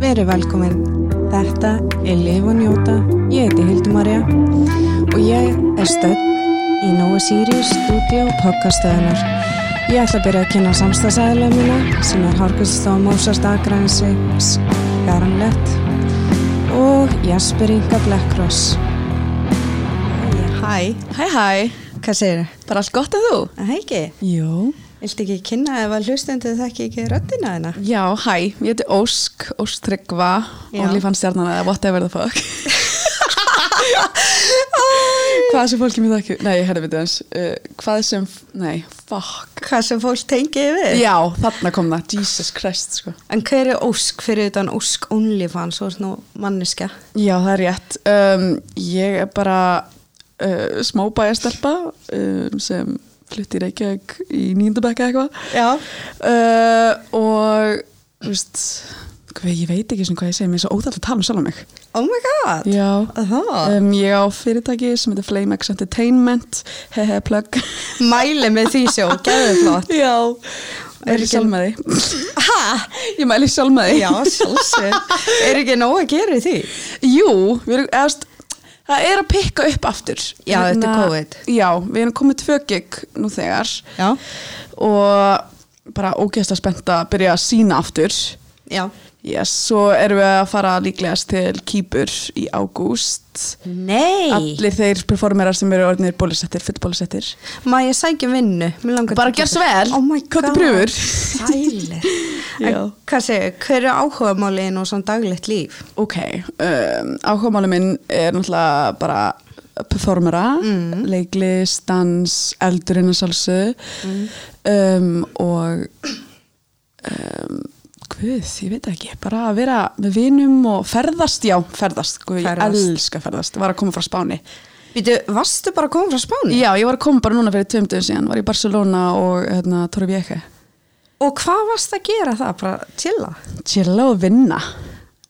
Verið velkomin. Þetta er Liv og Njóta. Ég heiti Hildumarja og ég er stödd í Nóa Sirius stúdíu podcastöðunar. Ég ætla að byrja að kynna samstagsæðilega mína sem er Harkustóð Mósast Akrænsi, Garanlett og Jasper Inga Blackross. Hæ, Hæ hæ, hvað segir þið? bara allt gott en þú? Það ekki, Jó viltu ekki kynna ef að hlustendu þekki ekki röddina þina? Já, hæ, ég heiti Ósk, Óstryggva Já. OnlyFans-stjarnan eða whatever the fuck Hvað sem fólki mér þekki Nei, herri, veitu eins uh, Hvað sem, nei, fuck Hvað sem fólk tengi yfir? Já, þarna kom það, Jesus Christ sko. En hver er ósk fyrir utan ósk OnlyFans og svona manniska? Já, það er rétt um, Ég er bara uh, smábæjarstelpa um, sem flutti í Reykjavík í nýndabækka eitthvað Já. uh, og þú veist hvað, ég veit ekki sem hvað ég segi, mér er svo óþægt að tala um sjálf mig Oh my god! já Aha. um, ég á fyrirtæki sem heitir Flamex Entertainment hehe plug Mæli með því sjó, gæðu flott. já Er er ekki- ég sjálf með því Ha? ég mæli sjálf með því Já, sjálfsög. er ekki nóg að gera í því? jú, við erum eðast Það er að pikka upp aftur. Já, Hérna, þetta er COVID. Já, við erum komið tvö gig nú þegar Já. og bara ógeðslega spennt að byrja að sína aftur. Já. Yes, svo erum við að fara líklegast til Kýpur í ágúst. Nei! Allir þeir performerar sem eru orðinir bólusettir, full bólusettir. Má ég sækja vinnu? Mig langar Bara til að gjörðu gera svo það. vel. Oh my god. Komdu prufur. Sælir. En Já. Hvað segir, hver er áhugamálin og svona daglegt líf? Ok, um, áhugamálum minn er náttúrulega bara performera, leiklist, dans, eldurinn að sjálfsögðu um, og um, guð, ég veit ekki, bara að vera með vinum og ferðast, já, ferðast, guð, Ferðast. ég elska ferðast, var að koma frá Spáni. Býtu, varstu bara komin frá Spáni? Já, ég var að koma bara núna fyrir tveimtuðu síðan, var í Barcelona og hérna, Torrevieja. Og hvað varst að gera það? Bara chilla? Chilla og vinna.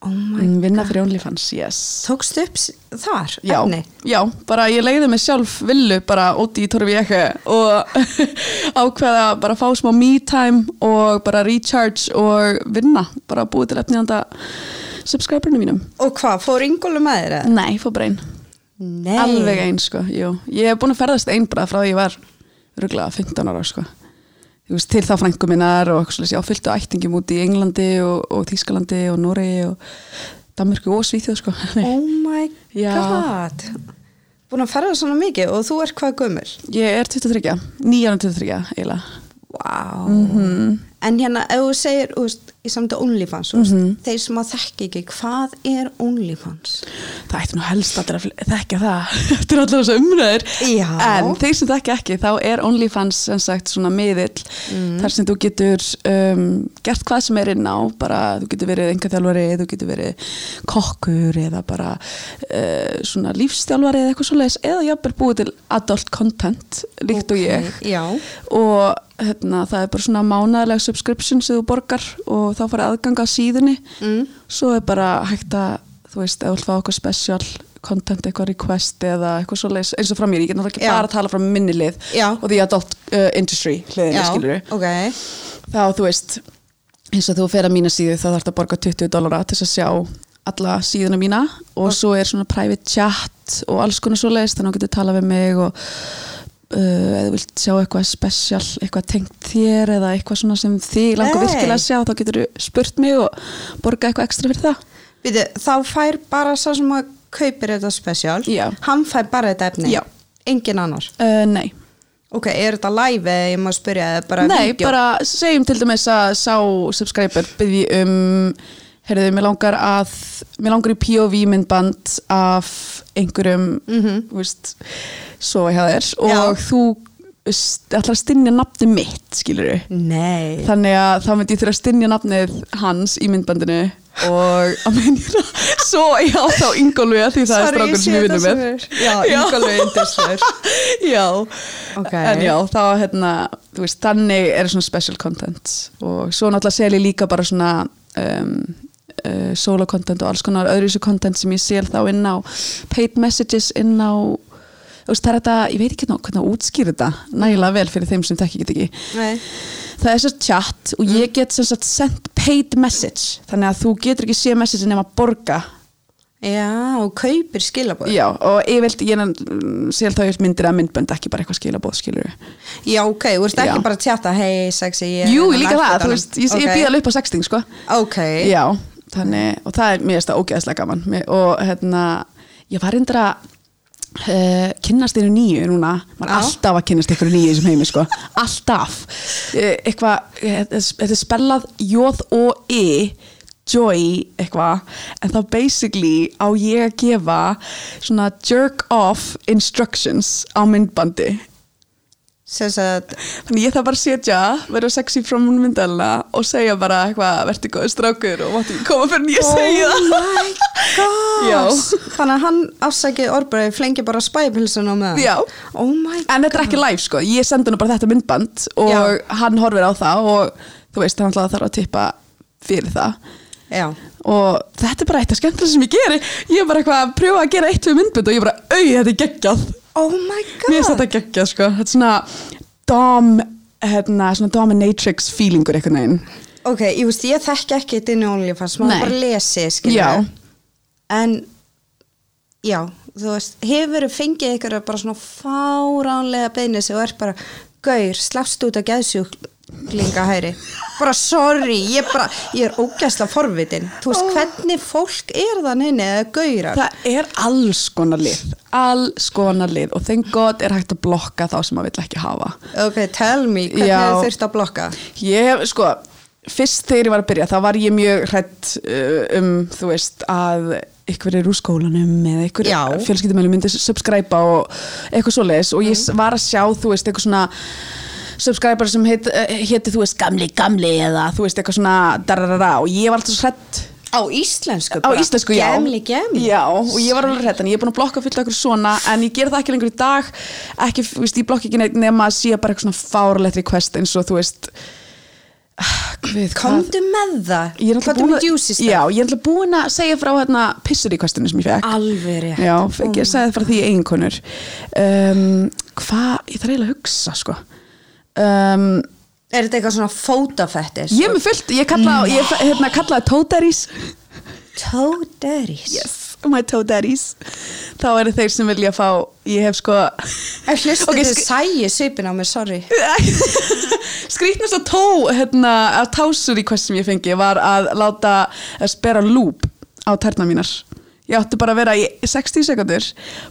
Oh my Mm, vinna fyrir OnlyFans, yes. Tókstu upp s- þar? Já, Efni? já, bara ég leiði mig sjálf villu bara úti í Torrevieja og ákveða bara að fá smá me time og bara recharge og vinna, bara búið til efniðanda subscriberinu mínum. Og hvað, fór yngolum með þér? eða? Nei, fór bara einn. Nei. Alveg einn, sko, jú. Ég hef búin að ferðast einn bara frá því ég var ruglega 15 ára, sko. Þú veist, til þá frængu minnar og eitthvað svolítið, já, fylgtu ættingum út í Englandi og, og Þískalandi og Nóri og Danmörku og Svíþjóð, sko. Oh my Já. god. Búin að ferða svona mikið og þú er hvað gömul? Ég er 23, 9 ára 23, eiginlega. Vá. Mhm. En hérna, ef þú segir, þú veist, í samt að OnlyFans, mm Mhm. -hmm. þeir sem að þekki ekki, hvað er OnlyFans? Það ætti nú helst allir að þekka það eftir allar þessu umröður. Já. En þeir sem þekka ekki, þá er OnlyFans sem sagt svona miðill þar sem þú getur um, gert hvað sem er inn á, bara þú getur verið engaþjálfari, þú getur verið kokkur eða bara uh, svona lífstjálfari eða eitthvað svoleiðis eða jafnvel búið til adult content líkt og ég Já. og hérna, það er bara svona mánaðileg subscription sem þú borgar og þá farið aðganga að síðunni mm. svo er bara hægt að þú veist, ef þú vilt fá eitthvað special content, eitthvað request eða eitthvað svoleiðis eins og frá mér, ég get náttúrulega ekki Já. bara að tala frá minni lið Já. og því adult uh, industry hliðinni skilur ok. þá þú veist, eins og þú fer að mína síðu þá þarf að borga 20 dólara til þess að sjá alla síðuna mína og svo er svona private chat og alls konar svoleiðis þannig að þú getur talað við mig og uh, eða þú vilt sjá eitthvað special eitthvað tengt þér eða eitthvað svona sem þig langar Nei. virkilega að sjá þá getur þú spurt mig og borga eitthvað ekstra fyrir það Býtu, þá fær bara sá sem að kaupir þetta spesial, Já. hann fær bara þetta efni, Já. engin annar. uh, Nei, Ok, er þetta live eða ég má spyrja eða bara nei, vídeó? bara segjum til dæmis að sá subscriber byrði um heyrðu, mér langar að mér langar í POV myndband af einhverjum mm veist, svo hjá þér og Mhm. Já. þú st- ætlar að stinja nafni mitt, skilur við Nei. þannig að þá myndi ég þurfa að stinja nafnið hans í myndbandinu og að mynda svo já þá yngolvi að því það er Sorry, strákur ég sem sé ég vinnum þetta með sem er- Já, Ingólfur yndislegur. já, Ok. en já þá hérna þú veist, þannig er svona special content og svo náttúrulega sel ég líka bara svona um, uh, solo content og alls konar öðruvísu content sem ég sel þá inn á paid messages inn á þú veist, það er þetta, ég veit ekki ná- hvernig að útskýra þetta nægilega vel fyrir þeim sem þekki ekki Nei. það er sér chat og ég get sem sagt sent paid message þannig að þú getur ekki séð message nema borga Já, og kaupir skilabóð já, og ég vilt, ég mm, sér þá ég myndir að myndbönd ekki bara eitthvað skilabóð skilur Já, ok, þú ert Já. ekki bara að tjata hei, sexy ég er jú, hérna líka það, nærfötunum." þú veist, ég, ég Ok. býð alveg upp á sexting sko Ok, já, þannig, og það er mér finnst það ógeðslega gaman Mér- og hérna, ég var reyndar að Uh, kynnast einu nýju núna maður er Já. alltaf að kynnast einhverju nýju í þessum heimi sko. alltaf uh, eitthvað, eh, þetta er spellað J-O-I joy eitthvað en þá basically á ég að gefa svona jerk off instructions á myndbandi sem sagt þannig ég þarf bara að setja vera sexy frá mun myndalina og segja bara eitthvað, vertu góð strákur og máttu ekki koma fyrir en ég segja Oh það my god Já. Þannig að hann afsakið orðbreið flengi bara spæpilsuna með hann. Já. Oh my god en þetta er ekki live sko, ég sendi hennu bara þetta myndband og Já. hann horfir á það og þú veist, hann alltaf þarf að tippa fyrir það Já, og þetta er bara eitt af skemmtilega sem ég geri ég er bara eitthvað að prjófa að gera eitt við myndband og ég er bara, au, þetta er geggjað oh my god mér finnst þetta geggjað sko, þetta er svona dom, hérna, svona dominatrix feelingur einhvern veginn Ok, ég veist, ég þekki ekki þetta inn í OnlyFans, maður Nei. bara lesi, skilur Já. En, já, þú veist, hefur fengið ykkur bara svona fáránlega beinni sem er bara, gaur, slappst út að geðsjúklinga hæri. Bara sorry, ég bara, ég er ógæsla forvitin. Þú veist, hvernig fólk er það neini eða gaurar? Það er alls konar lið, alls konar lið og þengt gott er hægt að blokka þá sem maður vill ekki hafa. ok, tell me, hvernig Já. þau þurft að blokka? Ég hef, sko, fyrst þegar ég var að byrja þá var ég mjög hrætt um, þú veist, að ykkur er úr skólanum eða ykkur Já. fjölskyldumölu myndi subscriba og eitthvað svoleiðis og ég s- var að sjá, þú veist, eitthvað svona subscriber sem heit, eh, héti, þú veist, gamli, gamli eða þú veist, eitthvað svona dararara og ég var alltaf svo hrætt Á íslensku á íslensku, já Gemli, gemli. já, og ég var alveg hrætt, en ég er búin að blokka fullt af okkur svona, en ég ger það ekki lengur í dag ekki, þú veist, ég blokka ekki neitt nema að sé bara eitthvað svona fáralegt request eins og þú veist ah, Guð, hvað Komdu með það. ég er alltaf Komdu búin með að, juices já, ég er alltaf búin að segja frá hérna pissur í questinu sem ég fekk Alveg rétt. já, fekk, ég sagði frá því einhvernur um, hvað, ég þarf eiginlega að hugsa sko um, Er þetta eitthvað svona fótafettis? ég er með fullt, ég kallaði ég, hérna, kallaði tóteris Toe daddies. yes, oh my toe daddies þá eru þeir sem vilja fá ég hef sko Ef hlustið Ok, okay, sk- sæi svipin á mig, sorry. skrýtnast að tó hérna, að tásur í hvað sem ég fengi var að láta að spera lúp á tærna mínar ég átti bara að vera í 60 sekundur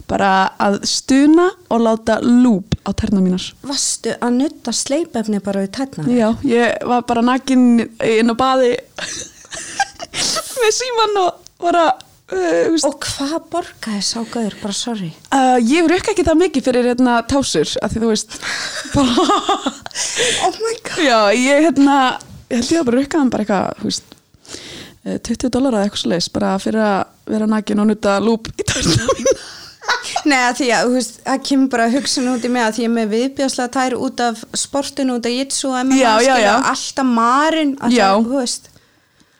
bara að stuna og láta lúp á tærna mínar Vastu að nutta sleipefni bara við tætna? já, ég var bara nakin inn á baði með síman og bara uh, veist, Og hvað borgaði sá gauður, bara sorry. Uh, ég rökk ekki það mikið fyrir hérna tásur af því þú veist bara, Oh my god. já, ég hérna ég held ég að bara rökka hann bara eitthvað þú veist, eh, 20 dólar eða eitthvað svo leis bara fyrir að vera nakin og nuta lúp í tásur Nei, að því að, þú veist, það kemur bara hugsun út í mig að því ég er með viðbjörslega tær út af sportinu, út af jitsu og MMA, Já, já, skilur, já. alltaf marinn, Já. alltaf, þú veist.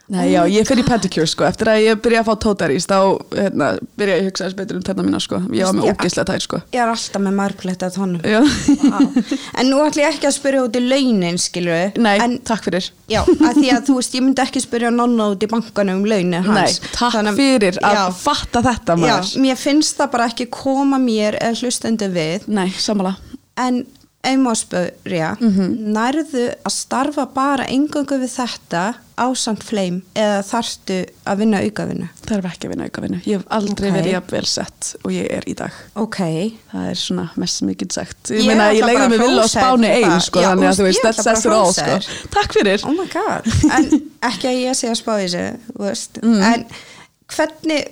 Nei, já, ég fyrir í pedicure sko eftir að ég byrja að fá tótarís þá hérna, byrja ég að hugsa þess betur um tærna mína sko ég var með Já. ógislega tær sko Ég er alltaf með marglegt að honum. já. Vá. En nú ætlum ég ekki að spyrja út í launin, skilur Nei, en takk fyrir Já, að því að þú veist, ég myndi ekki spyrja nonna út í bankanum um launinu hans. Nei, takk Þannig fyrir að Já. fatta þetta Já, maður mér finnst það bara ekki koma mér eða hlustandi við Nei, samanlega en ef maður spyrja mm Mhm. nærðu að starfa bara engungu við þetta ásamt fleim eða þarftu að vinna aukavinu Það er ekki að vinna auka vinnu. Ég hef aldrei Ok. verið jafn vel sett og ég er í dag. ok Það er svona mest sem ég get sagt. Ég, Ég meina, ég ætla legði bara mig að vilja á hrósa þér spáni fyrir einn, það. sko, Já, þannig úst, að þú veist, ég ætla that's bara að that's it all, hrósa sko. þér. Takk fyrir. oh my god, en ekki að ég sé að spá í þessu þú veist, Mm. en hvernig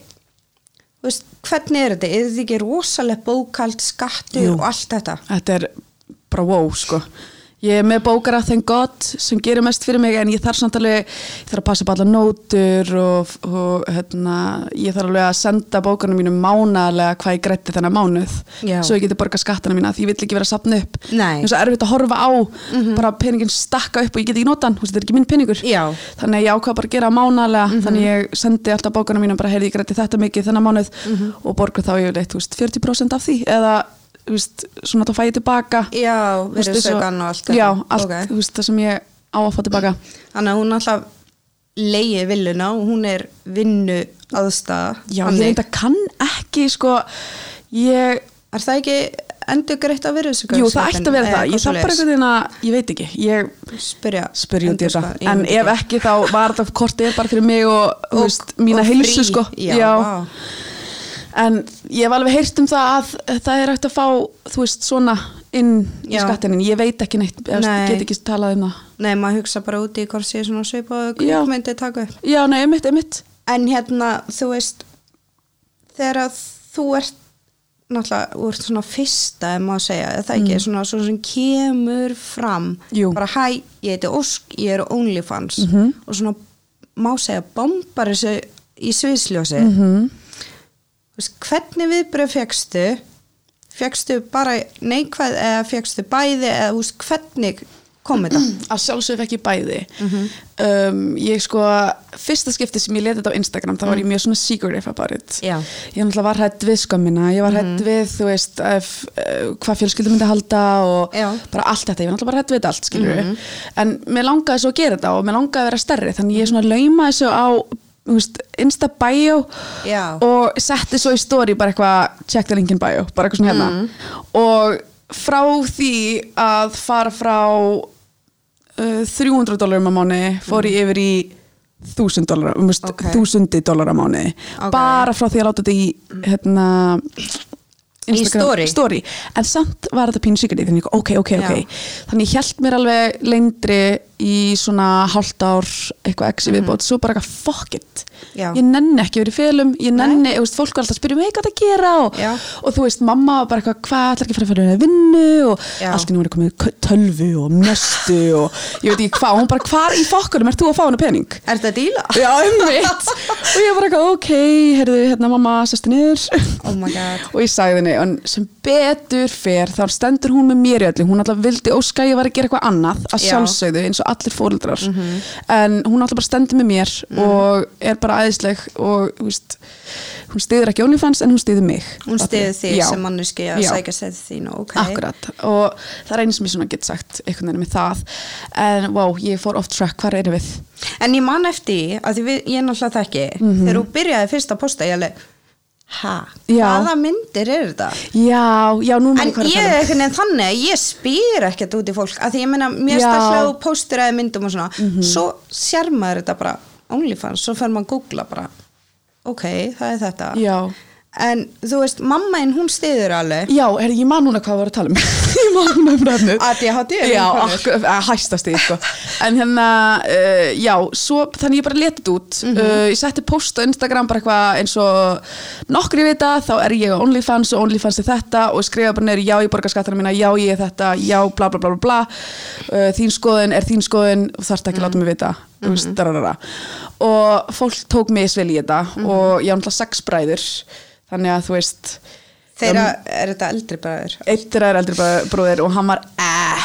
þú veist, hvernig er þetta, er þetta ekki rosalega bókald skattur Jú. og allt þetta Þetta er bara wow, sko. Ég er með bókara þenn gott sem gerir mest fyrir mig en ég þarf samt alveg, ég þarf að passa upp alla nótur og, og hérna, ég þarf alveg að senda bókarnum mínum mánalega hvað ég grætti þennan mánuð Já. svo ég geti borgað skattana mína því ég vill ekki vera að sapna upp. Nei. Mhm. Mér er svo erfitt að horfa á bara peningin stakka upp og ég get ekki nota hann, þú veist, þetta er ekki minn peningur. Já. þannig að ég ákvað bara að gera mánalega Mhm. þannig að ég sendi alltaf Mhm. bókana mínum bara heyrði ég grætti þetta mikið þennan mánuð og borga þá ég leitt 40% af því eða þú veist, svona þá fæ ég tilbaka já, Þú veist, verið eins og- sögan og allt þetta. já, allt, Ok. þú veist, það sem ég á að fá tilbaka Þannig að hún alltaf leiði villuna og hún er vinnu aðstæða. já, ég reynda kann ekki sko, ég Er það ekki endur greitt að vera þessu Jú, það ætti að vera það, ég þarf bara einhvern veginn að, ég veit ekki, ég veginn spyrja. spyrja út í endurskoða- þetta, en endurskoða. ef ekki þá var þetta kortið bara fyrir mig og, þú Og- veist, mína og heilsu frí. sko, Já, vá. en ég hef alveg heyrt um það að það er hægt að fá, þú veist, svona inn í Já. skattinin, ég veit ekki neitt, Nei. Nei. ég get ekki talað um það. Nei, maður hugsa bara úti í hvort séu svona svipaðu Já. kvikmyndi taka upp. Já, nei, einmitt, einmitt, En hérna, þú veist, þegar að þú ert náttúrulega, þú ert svona fyrsta ef maður segja, er það ekki, svona svona sem kemur fram, Mm. Jú. Mhm. bara hæ ég heiti Ósk, ég er OnlyFans -hmm. og svona má segja bombar þessu í sviðsljósi Mhm. -hmm. veist, hvernig viðbröð fegstu fegstu bara neikvæð eða fegstu bæði eða þú veist, hvernig kom þetta að sjálfsög fekk ég bæði um, ég sko, fyrsta skipti sem ég leti þetta á Instagram, þá var ég mjög svona secretive about it Mm. Já. Mm. ég náttúrulega var hætt við skömmina ég var hætt við, þú veist, ef, uh, hvað fjölskyldum myndi halda og Já. Mhm. bara allt þetta, ég var náttúrulega bara hætt við þetta allt, skilur en mér langaði svo að gera þetta og mér langaði að vera stærri, þannig ég svona lauma þessu á þú veist, Insta bio Já. og setti svo í story bara eitthvað, check the link in bio bara eitthvað svona hérna Mm. og frá því að fara frá uh, 300 dólarum á mánu fór ég yfir í 1000 dólarar, um veist, Mhm. Ok. 1000 dólar á mánu Ok. bara frá því að láta þetta í hérna Í story? en samt var þetta pínu sigrið þannig, ok, ok, ok, Já. þannig ég held mér alveg lengri í svona hálft ár eitthvað ekki viðbót, svo bara eitthvað fuck it Mhm. Já. ég nenni ekki verið félum, ég nenni þú veist, fólk var alltaf að spyrja mig hvað það gera og, Já. og þú veist, mamma var bara eitthvað hvað ætlar ekki að fara að fara að vinnu og Já. allt í nú er komið k- tölvu og nöstu og ég veit ekki hvað, hún bara hvar í fokkunum ert þú að fá hennu pening? Er þetta að díla? Já, einmitt og ég bara eitthvað, ok, heyrðu, hérna mamma sestu niður Oh my god og ég sagði henni, en sem betur fer þá stendur hún með mér í öllu hún alltaf vildi óska að ég var að gera eitthvað annað að Já. Mhm. sjálfsögðu eins og allir fóreldrar en hún alltaf bara stendur með mér og er bara æðisleg og þú veist, hún styður ekki OnlyFans en hún styður mig Hún stiði þig Já. sem manneski að Já. sækja sæði þínu, ok. Akkurat, og það er einu sem ég svona get sagt einhvern veginn með það en wow, ég fór off track, hvar erum við? En ég man eftir, því, að því við, ég er náttúrulega þekki, Mhm. þegar þú byrjaði fyrst að posta, ég alveg, hæ, Já. hvaða myndir eru þetta? Já, já, nú En maður hvað ég er að tala um einhvern veginn þannig að ég spyr ekkert út í fólk, að því ég meina, mér Já. Mhm. stærlega og póstur eða myndum og svona, svo sér maður þetta bara, OnlyFans, svo fer maður að googla bara, ok, það er þetta. Já, En þú veist, mamma en hún stiður alveg, já er, ég man núna hvað við varum að tala um Ég man núna um rafnið ADHD, er Já, vinkonur. akkur, að hæstast ég sko En hérna, uh, já, svo, þannig ég bara letið út uh, Ég setti post á Instagram bara eitthvað eins og nokkri vita Þá er ég á OnlyFans og OnlyFans er þetta Og skrifa bara neyri, já, ég borga skattana mína, já, ég er þetta, já, bla, bla, bla, bla, bla uh, Þín skoðin er þín skoðin og þarft ekki að láta mig vita mm -hmm. veist, Og fólk tók mig svel í þetta Og ég á náttúrulega sex bræður Þannig að þú veist, þeirra Um. er þetta eldri bræður. eitt þeirra er eldri brá- bróðir og hann var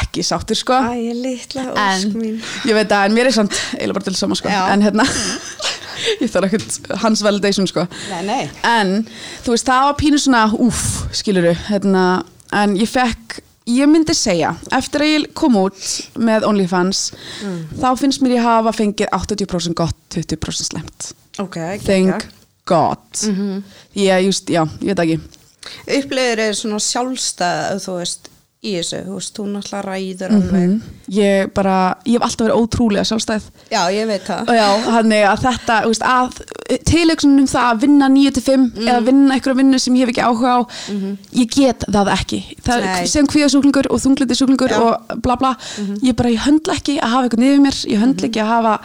ekki sáttur sko Æ, ég litla ósk en mín. ég veit að en mér er samt eiginlega bara til sama sko Já. Mm. en hérna ég þarf ekkert hans validation sko Nei, nei. en þú veist það var pínu svona úf skiluru hérna en ég fekk ég myndi segja eftir að ég kom út með OnlyFans Mm. þá finnst mér ég hafa fengið 80% gott 20% slemt Ok, thank geggjað. god mm Mhm. -hmm. ég just já ég veit ekki upplifir er svona sjálfstæð þú veist, í þessu, þú veist, þú náttúrulega ræður Mhm. alveg ég bara ég hef alltaf verið ótrúlega sjálfstæð já, ég veit það Og Já, þannig að þetta, þú veist, að tilöksunum það að vinna 9-5 Mm. eða vinna einhverja vinnu sem ég hef ekki áhuga á ég get það ekki það Mhm. Nei. er sem kvíðasúklingur og þunglindisúklingur Já. Mhm. og bla bla, ég bara, ég höndla ekki að hafa eitthvað niður mér, ég höndla ekki að hafa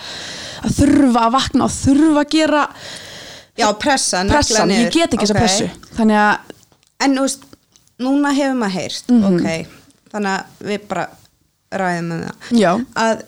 að þurfa að vakna og þurfa að gera já, pressa, negla pressan, ég niður. get ekki þessa Ok. pressu þannig að, en þú veist, núna hefur maður heyrt Mhm. ok, þannig að við bara ræðum með það já að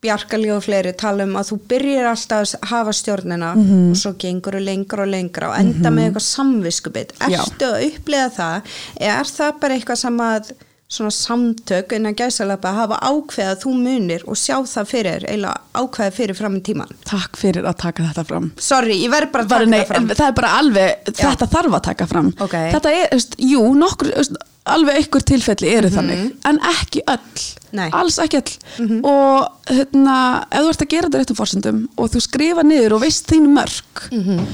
Bjarkalí og fleiri tala um að þú byrjir alltaf að hafa stjórnina Mhm. og svo gengur og lengra og lengra og enda með eitthvað samviskubit Já. ertu að upplifa það eða er það bara eitthvað sem að svona samtök innan gæsalappa hafa ákveða þú munir og sjá það fyrir, eiginlega ákveða fyrir fram í tíman. Takk fyrir að taka þetta fram Sorry, ég verð bara að bara, taka nei, það fram. en það er bara alveg, þetta þarf að taka fram Ok. þetta er, veist, jú, nokkur veist, alveg einhver tilfelli eru þannig en ekki öll, Mhm. Nei. Mhm. alls ekki öll og hérna ef þú ert að gera þetta á réttum fórsendum og þú skrifa niður og veist þín mörg Mhm.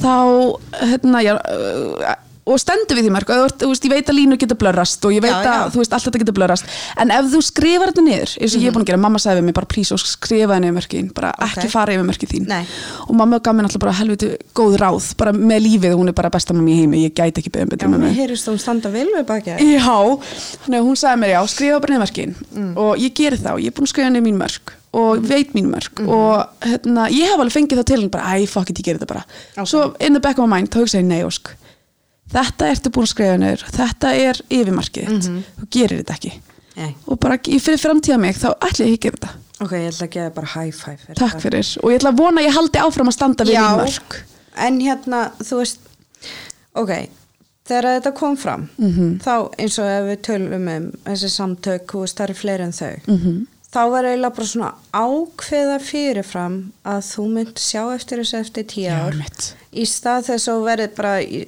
þá, hérna já, uh, og stendur við því mörg og þú, ert, þú veist, ég veit að línu getur blörrast og ég veit Já, að, já. þú veist, allt þetta getur blörrast en ef þú skrifar þetta niður, eins og Mhm. ég er búin að gera mamma sagði við mig bara prís og skrifaði niður mörgin bara ekki fara yfir mörgin þín Nei. og mamma gaf mér náttúrulega bara helviti góð ráð bara með lífið, hún er bara besta mamma í heimi ég gæti ekki beðum betur með Mér mig heyrist þú standa vel við bakið. já, þannig að hún sagði mér já, skrifa bara nefnverkin mm. og ég geri þá, ég er búin að skrifa nefn mín mörg og veit mín mörg og hérna, ég hef alveg fengið þá til henni bara, æ, fuck it, ég geri þetta bara svo in the back of my mind, þá hugsa ég nei, ósk þetta ertu búin að skrifa nefnir þetta er yfirmarkið þitt þú gerir þetta ekki Nei. og bara í- fyrir framtíða mig, þá ætli ég ekki að gera þetta Ok, ég ætla að gefa þér bara high five fyrir takk fyrir, og ég ætla að vona að ég haldi áfram að standa við mín mörg en hérna, þú veist ok, þegar þetta kom fram -hmm. Mhm. þá eins og ef við tölum um þessi samtök, þú veist, það eru fleiri en þau -hmm. Mhm. þá var eiginlega bara svona ákveða fyrirfram að þú mynd sjá eftir þessu eftir tíu Já, ár einmitt. í stað þess að þú verið bara í,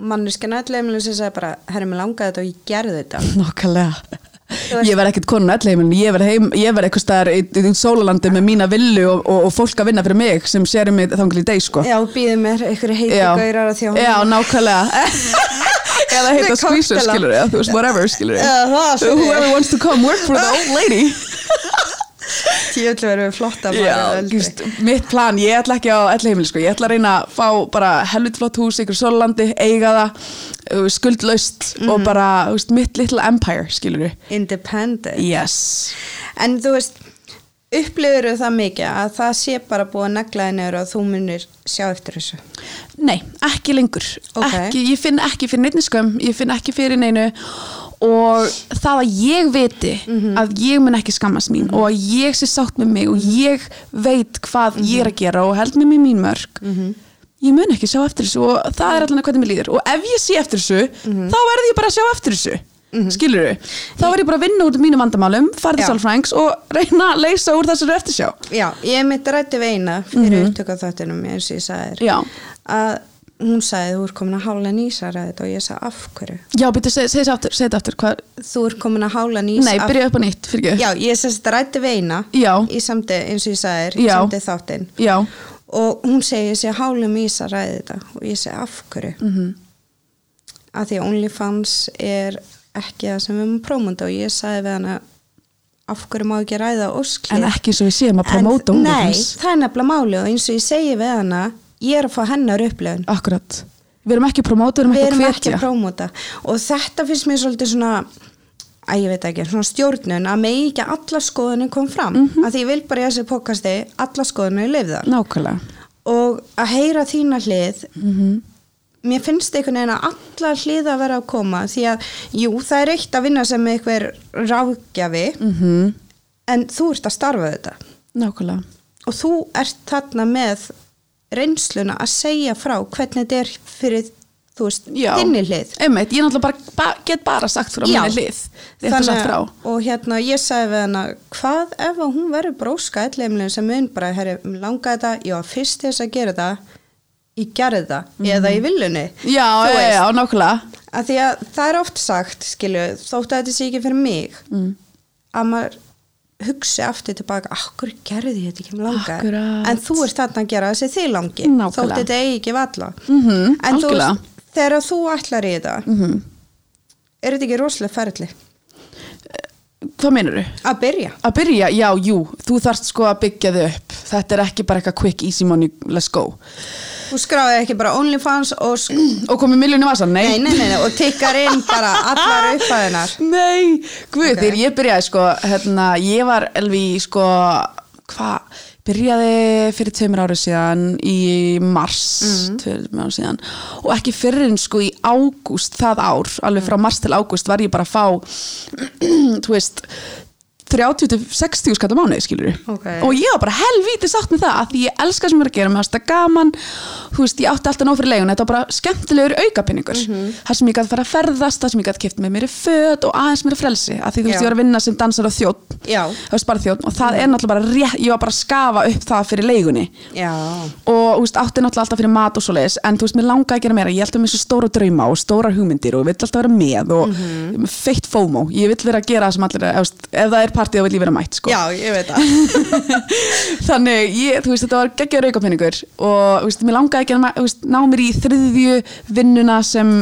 manneskja nætleimilin sem sagði bara, herri, mér langaði þetta og ég gerði þetta Nákvæmlega veist- Ég verð ekkert konun öll heimilinu, ég verð, heim, ég verð eitthvað staðar í, í, í sólalandi með mína villu og, og, og fólk að vinna fyrir mig sem sérum mig þanglið í deg sko já, býðu mér, einhverju heiti gaurar að því að hún- Já, nákvæmlega Eða heita Með skvísur koktela. skilur ég, þú veist, whatever skilur ég Já, það, skilur ég. Whoever wants to come work for the old lady Ég ætla að vera flott að fara Já, eldri. just, mitt plan, ég ætla ekki á elli heimili sko. ég ætla að reyna að fá bara helviti flott hús ykkur sólandi, eiga það uh, skuldlaust Mhm. og bara þú veist, mitt little empire, skilur við Independent. Yes En þú veist, upplifur það mikið að það sé bara búið að negla þér niður og þú munir sjá eftir þessu. Nei, ekki lengur Ok. ekki, Ég finn ekki fyrir neittni skömm Ég finn ekki fyrir neinu Og það að ég viti Mhm. að ég mun ekki skammast mín og að ég sé sátt með mig og ég veit hvað ég er Mhm. að gera og held með mér mín mörg ég mun ekki sjá eftir þessu og það Mhm. er allan hvernig mér líður og ef ég sé eftir þessu þá verði ég bara að sjá eftir þessu mm skilur við, þá verði ég bara að vinna út mínum vandamálum, fara til Mhm. Já. sálfrængs og reyna að leysa úr þessari eftirsjá Já, ég mitt rætti veina fyrir mm Mhm. -hmm. upptöku þáttinum eins og ég sagði þér. Já. Að hún sagði þú er komin að hála nýsa ræðið og ég sagði af hverju. Já, byrju, seg, seg, seg aftur, seg þetta aftur hvað? Þú er komin að hála nýsa Nei, byrja upp á nýtt, fyrir ekki Já, ég sérst rætti veina Já. í samdi eins og ég sagði þér, í Já. samdi þáttin. Já, og hún segi ég sé hálum í þess að ræði þetta og ég segi af hverju mm Mhm. -hmm. að því að OnlyFans er ekki það sem við erum að prófunda og ég sagði við hana af hverju má ekki ræða ósklið en ekki eins og við séum að promóta En- hún nei, það er nefnilega máli og eins og ég segi við hana ég er að fá hennar upplöfun Akkurat, við erum ekki að promóta, við við erum erum ekki ekki að að hvetja prófmóta og þetta finnst mér svolítið svona að ég veit ekki, svona stjórnun að megi ekki að alla skoðunum kom fram Mhm. að því ég vil bara í þessu pokasti alla skoðunum lifðar Nákvæmlega, Mhm, og að heyra þína hlið mér finnst einhvern veginn að alla hlið að vera að koma því að, jú, það er eitt að vinna sem einhver ráðgjafi -hmm. en þú ert að starfa þetta mhm. nákvæmlega og þú ert þarna með reynsluna að segja frá hvernig þetta er fyrir, þú veist, Já. þinni hlið Einmitt, ég náttúrulega bara, ba get bara sagt frá Já. minni hlið Þetta er sagt frá og hérna ég sagði við hana hvað ef að hún verður bróska elleimlun sem mun bara, herri, mig langaði þetta ég var fyrst til þess að gera þetta ég gerði þetta, eða í viljunni Mhm. Já, Þú já, veist. já, nákvæmlega að því að það er oft sagt skilju, þótt að þetta sé ekki fyrir mig mm. að maður hugsi aftur tilbaka, akkur gerði ég þetta ekki um langa, Akkúrat. en þú ert þarna að gera þessi þig langi, Nákvæmlega. þótt þetta eigi ekki valla, Mhm, en þú algjörlega. Mhm. veist, þegar þú ætlar í þetta -hmm. er þetta ekki rosalega ferli Hvað meinarðu? að byrja Að byrja, já, jú, þú þarft sko að byggja þið upp Þetta er ekki bara eitthvað quick, easy money, let's go þú skráði ekki bara OnlyFans og sk- Og komið miljónu vasa, nei nei, nei, nei, nei, og tikkar inn bara allar upphæðinar Nei, guð, Ok. þegar ég byrjaði sko, hérna, ég var alveg í sko, hvað, byrjaði fyrir tveimur árið síðan í mars, Mhm. tveimur árið síðan og ekki fyrir en sko í Mhm. ágúst það ár, alveg frá mars til ágúst var ég bara að fá, þú veist, 30-60 skatt á mánuði skilur Ok. og ég var bara helvítið sátt með það að því ég elska sem ég er að gera, mér fannst það gaman þú veist, ég átti alltaf nóg fyrir leigun þetta var bara skemmtilegur aukapinningur Mhm. það sem ég gæti fara að ferðast, það sem ég gæti kipt með mér í föt og aðeins mér frelsi, að því þú Já. veist, ég var að vinna sem dansar og þjótt Já. og það er náttúrulega bara rétt, ég var bara að skafa upp það fyrir leigunni já, og þú veist, átti náttúrulega alltaf fyrir mat og svoleiðis en þú veist, mér langaði að gera meira, ég held um þessu stóra drauma og stóra hugmyndir og ég vill alltaf vera með og mm Mhm. -hmm. feitt FOMO, ég vill vera að gera það sem allir, er- ef, þú veist, ef það er partíð þá vill ég vera mætt, sko já, ég veit það þannig, ég, þú veist, þetta var geggjör aukapinningur og þú veist, mér langaði að gera, ma- þú veist, ná mér í þriðju vinnuna sem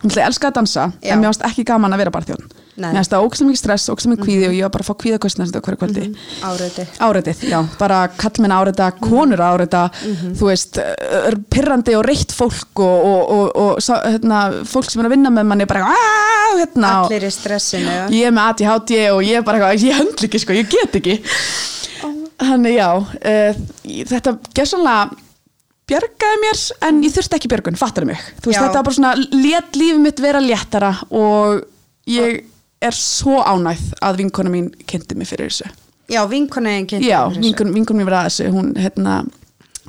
Ég elska að dansa, Já. en mér varst ekki gaman að vera barþjón. Nei. Mhm. Mér varst það ógstlega mikið stress, ógstlega mikið kvíði og ég var bara að fá kvíðakostna þetta hverju kvöldi Áreiti. áreitið, já, bara kallmenn áreita Mhm. konur áreita, þú veist eh, pirrandi og reitt fólk og, og, og, og sá- hérna, fólk sem er að vinna með manni bara, aaaah, hérna og allir í stressinu já. ég er með ADHD og ég er bara, eitthvað, ég höndl ekki sko, ég get ekki þannig já uh, þetta gerðsannlega bjargaði mér en ég þurfti ekki björgun, fattar mig þú veist, Já. þetta var bara svona, lét lífið mitt vera léttara og ég er svo ánægð að vinkona mín kynnti mig fyrir þessu já, vinkonegin kynnti Já, fyrir þessu. vinkun, vinkun mér var að þessu hún hérna,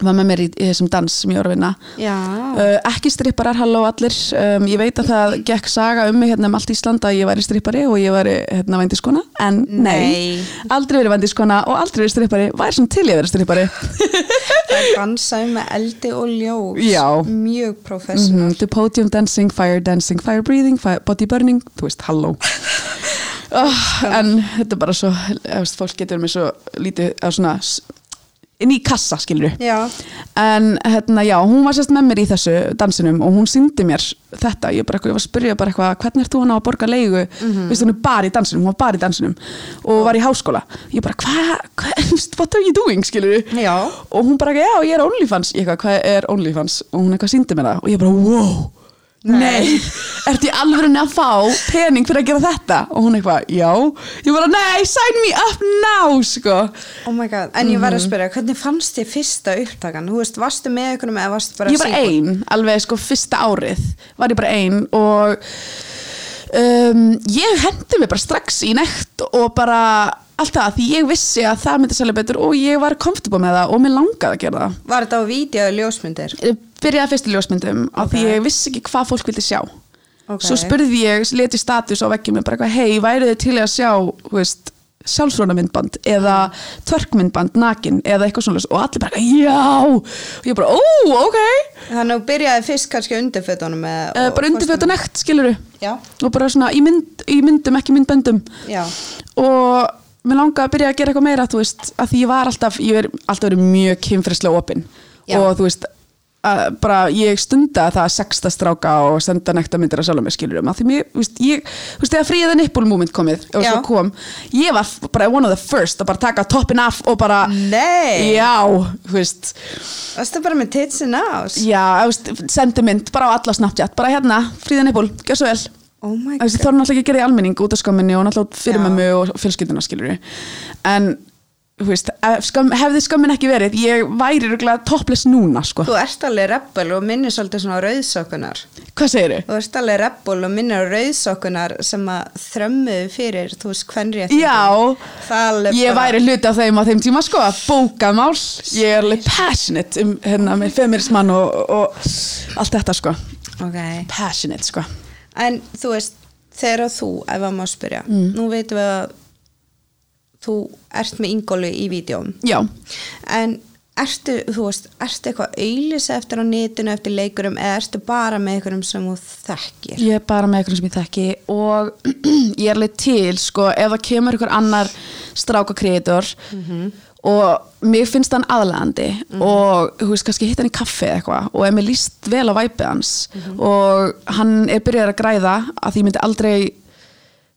var með mér í, í þessum dans sem ég var að vinna já, uh, ekki stripparar, halló allir um, ég veit að það gekk saga um mig hérna um allt Ísland að ég væri strippari og ég væri hérna vændiskona, en nei, Nei. aldrei verið vændiskona og aldrei verið strippari væri svona til ég að vera strippari það dansaði með eldi og ljós Já. mjög professional mm, the podium dancing, fire dancing, fire breathing fire, body burning, þú veist, halló oh, en þetta er bara svo, þú veist, fólk getur með svo lítið, eða svona s- inn í kassa, skilur já, en hérna já, hún var sérst með mér í þessu dansinum og hún syndi mér þetta, ég, bara, eitthvað- ég var að spyrja bara eitthvað hvernig ert þú hann á að borga leigu mm veist hún er bara í dansinum, hún var bara í dansinum og var í háskóla, ég bara hvað hva, what are you doing, skilur Já. og hún bara, já, ég er OnlyFans ég eitthvað, hvað er OnlyFans og hún eitthvað syndi mér það og ég bara, wow Nei, ertu í alvörunni að fá pening fyrir að gera þetta? Og hún eitthvað, já. Ég bara, nei, sign me up now, sko. oh my god en ég var Mhm. að spyrja, hvernig fannst þið fyrsta upptakan þú veist, varstu með einhvernum eða varstu bara ég var single? ein, alveg sko fyrsta árið var ég bara ein og um, ég hendi mig bara strax í nekt og bara allt það því ég vissi að það myndi selja betur og ég var komfortable með það og mér langaði að gera það var þetta á vídeo ljósmyndir Ég byrjaði fyrst í ljósmyndum af því ég vissi ekki hvað fólk vildi sjá Ok. svo spurði ég, leti status á veggjum bara eitthvað, hei, værið þið til í að sjá þú veist, sjálfsvona myndband eða tvörkmyndband, nakin eða eitthvað svona og allir bara, eitthvað, já og ég bara, ó, ok þannig að þú byrjaði fyrst kannski undirfötunum uh, bara undirfötta nekt, skiluru Já. og bara svona í, mynd, í myndum, ekki myndböndum Já. og mér langaði að byrja að gera eitthvað meira þú veist, að því ég var alltaf ég er alltaf verið mjög kynfrislega opinn Já. og þú veist að, bara ég stunda það að sexta stráka og senda nekta myndir að sjálfum mig skilurum að því mér, þú veist, ég, þú veist, þegar fríða nippul moment komið og svo Já. kom ég var f- bara one of the first að bara taka toppin af og bara, Nei. Ah. já, þú veist varstu bara með titsin ás Já, þú veist, sendi mynd bara á alla Snapchat, bara hérna, fríðan eppul, gjör svo vel. oh my Þú veist, god Þorfinn náttúrulega ekki að gera í almenning út af skömminni og náttúrulega fyrir Já. mömmu og fjölskylduna skilur En, þú veist, ef skömm, hefði skömmin ekki verið, ég væri röglega topless núna, sko. þú ert alveg rebbel og minnir svolítið svona á rauðsokkunar Hvað segirðu? þú ert alveg rebbel og minnir á rauðsokkunar sem að þrömmuðu fyrir þú veist hvernig Já, það er alveg ég bara- væri hluti af þeim á þeim tíma, sko, að bóka mál. Ég er alveg passionate um, hérna, með feminismann og, og allt þetta, sko. ok Passionate, sko. En þú veist, þegar þú, ef að maður spyrja, Mm. nú veitum við að þú ert með yngólu í vídjóm. Já. En ertu, þú veist, ertu eitthvað auðlýsa eftir á netinu, eftir leikurum eða ertu bara með einhverjum sem þú þekkir? Ég er bara með einhvern sem ég þekki og ég er alveg til sko ef það kemur einhver annar strákakreator og mér finnst hann aðlegandi og þú veist kannski hitt hann í kaffi eða eitthvað og ef mér líst vel á væpið hans og hann er byrjar að græða að því ég myndi aldrei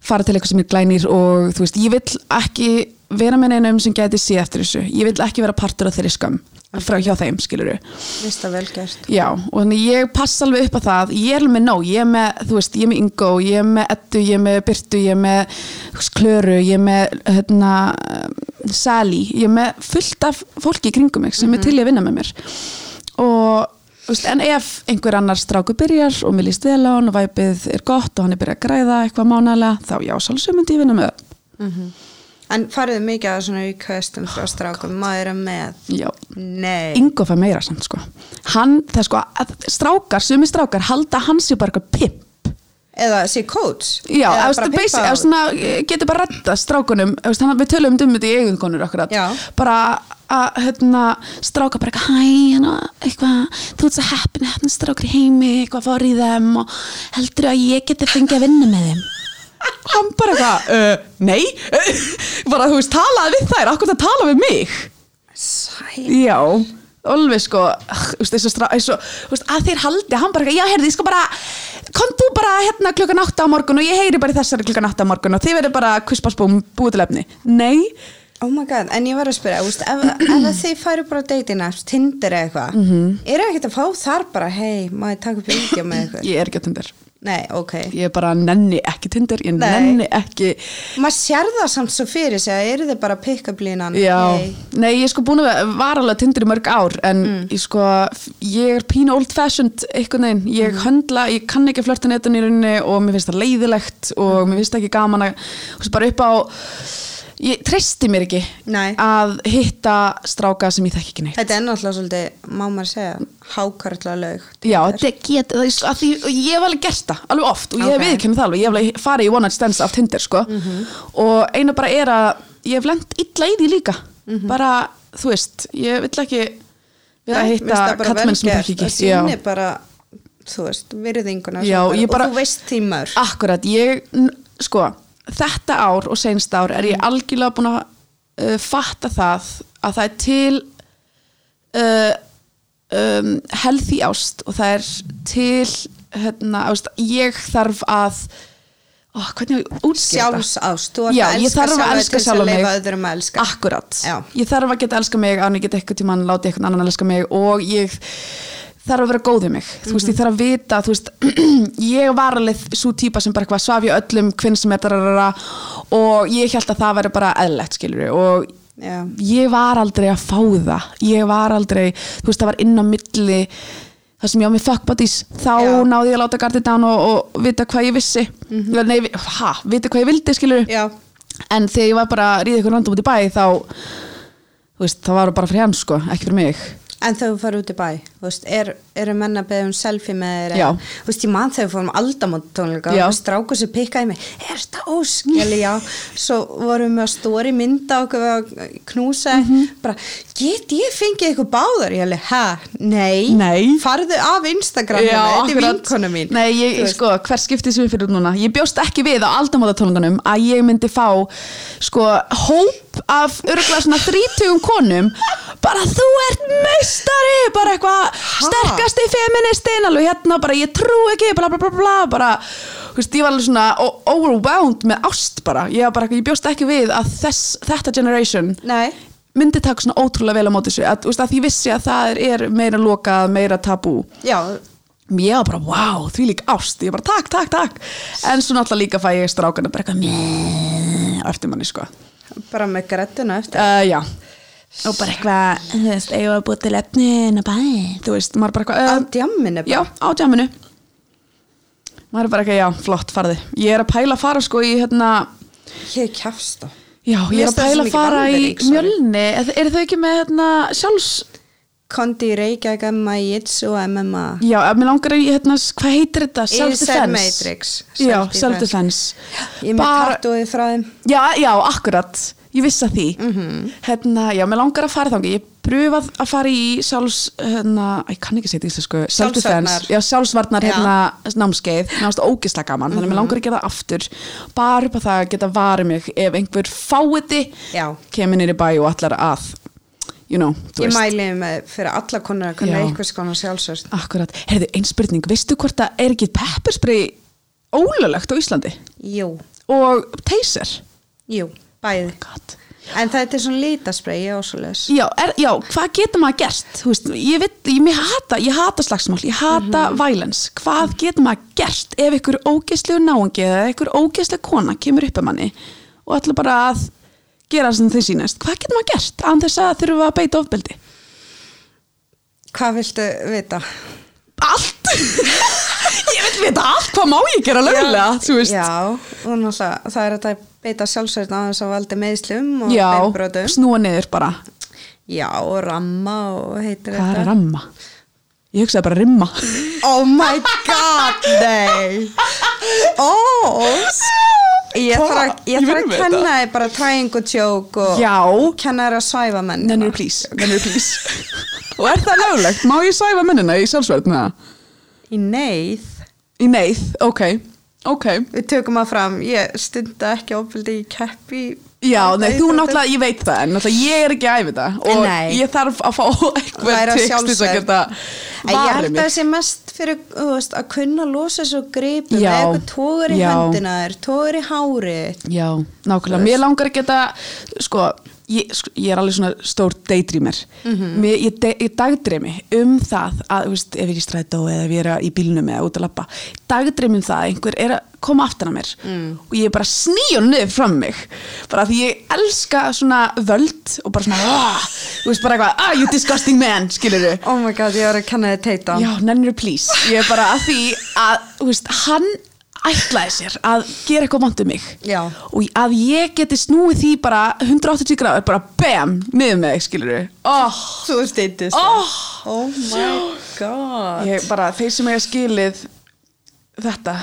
fara til eitthvað sem er glænir og þú veist, ég vil ekki vera með neinum sem gæti sé eftir þessu ég vil ekki vera partur af þeirri skam frá hjá þeim, skilur Vist það vel gert? Já, og þannig ég passa alveg upp á það ég er alveg með nóg, ég er með, þú veist, ég er með Ingo ég er með Eddu, ég er með Byrtu ég er með þú veist, Klöru, ég er með hérna, eh, Sally ég er með fullt af fólki í kringum mig sem er til í að vinna með mér og þú veist, en ef einhver annar stráku byrjar og mér líst vel á hann og væpið er gott og hann er byrjað að græða eitthvað mánalega, þá já, sálsum myndi ég vinna með það En farið mikið að svona aukvöstum Oh, frá strákum, maður er með Já. Nei, Ingo fær meira samt sko hann, það er sko, að strákar, sumi strákar halda hans í bara eitthvað pimp eða sé coach Já, eða eða bara basic, eða svona, eh, getur bara retta strákunum, eða þannig að við tölum um þetta í eigunkonur akkurat, Já. bara að hérna, stráka bara eitthvað hæ, hérna, eitthvað, þú ert svo heppin heppin strákur í heimi, eitthvað fór í þeim og heldur að ég geti fengið að vinna með þeim hann bara eitthvað, uh, nei bara þú veist, talaði við þær, akkur það tala við mig Sæ, Já, alveg sko ugh, þú veist, þessu strá, þessu, þú veist, að þeir haldi hann bara, já, heyrði, ég sko bara kom þú bara hérna klukkan átta á morgun og ég heyri bara í þessari klukkan átta á morgun og þið verður bara kvisparsbúm búið til efni Nei, oh my god, en ég var að spyrja úst, ef, ef að þið færu bara á deitina Tinder eða eitthvað, mm Mhm. -hmm. eru ekkert að fá þar bara, hei, maður taka upp vídeo með eitthvað ég er ekki á Tinder Nei, ok Ég bara nenni ekki Tinder, ég Nei. nenni ekki Maður sér það samt svo fyrir sig að eru þið bara að pikka blínan Já, hey. nei, ég er sko búin að var alveg tindur í mörg ár en Mm. ég sko, f- ég er pínu old fashioned einhvern veginn, ég Mm. höndla ég kann ekki að flörta netan í rauninni og mér finnst það leiðilegt Mm. og mér finnst það ekki gaman að, þú veist, bara upp á ég treysti mér ekki Nei. að hitta stráka sem ég þekki ekki neitt Þetta er náttúrulega svolítið, má maður segja hákarla lög Já, þetta getur það, að því, og ég hef alveg gert það, alveg oft, og ég Ok. okay. viðkennum það alveg, ég hef alveg farið í one night stands af Tinder, sko, og eina bara er að ég hef lent illa í því líka, bara, þú veist, ég vill ekki við að hitta kallmenn sem ekki Það ekki, sýnir bara, þú veist, virðinguna sem Já, ég bara- Og þú veist tímar Akkurat, ég, n- sko, þetta ár og senst ár er ég algjörlega búin að uh, fatta það að það er til uh, um, healthy ást og það er til, hérna, ást, ég þarf að, ó, hvernig á ég að útskýra þetta? Sjálfsást, þú ert Já, að ég elska þarf að sjálfa þig elska til þess að sjálfa mig. leifa öðrum að elska Akkurat, Já. ég þarf að geta að elska mig án ég get eitthvað tímann láti eitthvað annan að elska mig og ég þarf að vera góð við mig þú Mhm. veist, ég þarf að vita, þú veist ég var alveg svo típa sem bara eitthvað svaf ég öllum hvern sem er dararara og ég held að það væri bara eðlegt skilur og Já. ég var aldrei að fá það ég var aldrei, þú veist, það var inn á milli það sem ég á mig fuck buddies þá Já. náði ég að láta gardið down og, og vita hvað ég vissi mm Mhm. -hmm. nei, vi- ha, vita hvað ég vildi skilur Já, en þegar ég var bara að ríða ykkur random út í bæ þá þú veist, það var bara fyrir hann sko, ekki fyrir mig en þegar þú farið út í bæ þú veist, er, eru menn að beða um selfie með þér Já. eða- þú veist, ég man þegar við fórum aldamót tónleika Já. og strákur sem pikkaði mig er þetta óskjali, já svo vorum við að stóri mynda okkur við að knúsa Mhm. bara, get ég fengið eitthvað báðar ég alveg, hæ, nei, Nei. farðu af Instagram þetta er akkurat. vinkona mín Nei, ég, Þú veist. sko, hver skipti sem við fyrir út núna ég bjóst ekki við á aldamóðatólungunum að ég myndi fá sko, hóp af örgulega svona þrítugum konum bara þú ert meistari bara eitthvað sterkasti feministin alveg hérna, bara ég trú ekki bla bla bla bla, bara þú veist, ég var alveg svona o- overwhelmed með ást bara, ég, var bara, ég bjóst ekki við að þess, þetta generation Nei. myndi taka svona ótrúlega vel á móti þessu að, þú veist, að því vissi að það er meira lokað meira tabú já, ég var bara, wow, því lík ást ég bara, takk, takk, takk en svo náttúrulega líka fæ ég strákana bara eitthvað meh, á eftir manni, sko uh, bara með grættuna eftir já, og bara eitthvað þú veist, eigum við að búið til efni inn á bæ þú veist, maður bara á eitthvað uh, djamminu bara já, á djáminu maður er bara eitthvað, já, flott, farði ég er að pæla að fara, sko, í hérna ég kjafst á já, ég Mér er finnst að það svo pæla að mikið fara í vandvirðing, sorry. mjölni er, er þau ekki með, hérna, sjálfs Kondi í Reykjavík, MMA, Jitsu og MMA Já, ef mér langar að ég, hérna, hvað heitir þetta? Inside Self-defense Matrix Já, Self-defense. self-defense Ég er með Bara- tattooið frá þeim Já, já, akkurat Ég vissi að því Mhm. Hérna, já, mér langar að fara þangi Ég pröfað að fara í sjálfs, hérna Æ, ég kann ekki segja þetta íslensku Self-defense Sjálfsvarnar. Já, sjálfsvarnar, Já. Mhm. hérna, námskeið Náðast ógislega gaman, þannig að mér langar að gera það aftur Bara upp að það að geta varið mig Ef einhver fáiði Já. Kemur nýri bæ og allar að You know, Ég þú veist mæli þeim með fyrir alla konar að kunna Já. einhvers konar sjálfsvörst Akkurat, heyrðu, einn spurning, veistu hvort að er ekki pepperspray ólulegt á Íslandi Jú, og taser? jú, bæði God. En þetta er svona lítasprey, ég ásólaus Já, er, já, hvað getur maður gert? Þú Veist, ég, veit, ég, ég, hata, ég hata slagsmál, ég hata Mhm. violence. Hvað getur maður gert ef einhver ógeðslegu náungi eða einhver ógeðsleg kona kemur upp um manni og ætla bara að gera sem þau sínast? Hvað getur maður gert án þess að þurfa að beita ofbeldi? Hvað viltu vita? Allt! ég veit vil vita allt hvað má ég gera lögulega, þú veist. Já, og náttúrulega það er hægt að beita sjálfsverðin aðeins að valdi meðslum og Já, beinbrotum. snúa niður bara. Já, og ramma og heitir Hvað er ramma? Ég hugsaði bara rimma. Oh my god, nei Ós Ég þarf að, ég þarf að kenna þið bara triangle joke og Já. kenna þér að svæfa menn Nennir please, nennir please. og er það löglegt? Má ég sæfa mennina í sjálfsverð með það? Í neyð Í neyð, ok, ok. Við tökum að fram, ég stunda ekki ofbeldi í keppi Já, nei, þú náttúrulega, ég veit það, en náttúrulega ég er ekki að æfi það og Nei. ég þarf að fá einhver Læra tips til þess að sjálfsvörn. geta En ég held varið að mig. það sé mest fyrir þú veist, að kunna losa svo gripum Já. eða eitthvað tóður í Já. höndina þér, tóður í hárið Já, nákvæmlega, mér langar að geta, sko, ég, sko, ég er alveg svona stór daydreamer, mér, ég, de, ég dagdreimi um það að, þú veist, ef ég er í strætó eða ef ég er að- í bílnum eða út að lappa, dagdreimi um það að einhver er að koma aftan að mér og ég er bara sníjun niður fram um mig, bara því ég elska svona völd og bara svona, "Ah," þú veist, bara eitthvað, ah, you disgusting man, skilur þau. Oh my god, ég var að kenna þið teita Já, nennir please Ég er bara að því að, þú veist, hann ætlaði sér að gera eitthvað vant um mig Já. og að ég geti snúið því bara 180 gráður, bara bam niður með þig, skilur við oh, Þú steytist oh. oh my god Ég bara, þeir sem eiga skilið þetta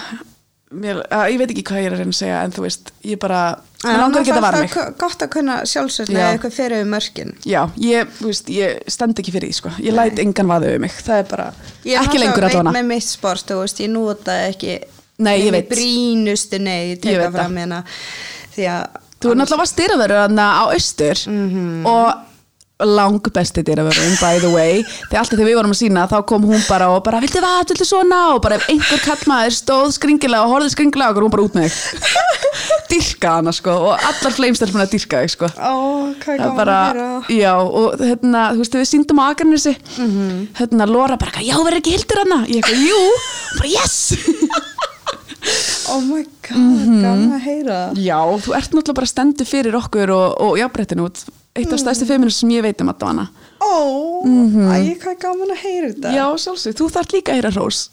mér, að, ég veit ekki hvað ég er að reyna að segja en þú veist, ég bara En mér langar annars ekki að er vara það mig ku- Gott að kunna sjálfsögna Já. eða eitthvað fyrir um mörkin Já, ég, þú veist, ég stend ekki fyrir því, sko ég læt engan vaða um mig, það er bara Ég er ekki náttúrulega lengur að veit dóna með mitt sport, þú veist, ég nota ekki Nei, ég nema í veit. Brýnustu nei, ég Ég teka veit fram hérna Því að Þú er náttúrulega var styrraverður hann á austur Mhm. og lang besti dyrraverðurinn by the way þegar alltaf þegar við vorum að sína þá kom hún bara og bara viltu vat, viltu svona og bara ef einhver kallmaður stóð skringilega og horfði skringilega og hún bara út með þig dyrka hana sko og allar fleimstelfuna dyrka þig sko Ó, hvað er það er gaman bara, að heyra já og hérna, þú veist, við síndum á Akarnesi Mhm. hérna, Lóra bara, eitthvað, já, verður ekki hildur hana ég eitthvað, jú, Hún bara, yes Oh my god, Mhm. gaman að heyra Já, þú ert náttúrulega bara stendur fyrir okkur og, og jafnbrettinu út. Eitt af stærstu feminist sem ég veit um að dana. Ó, æ, hvað er gaman að heyra þetta Mhm. Já, sjálfsög, þú þarf líka að heyra hrós.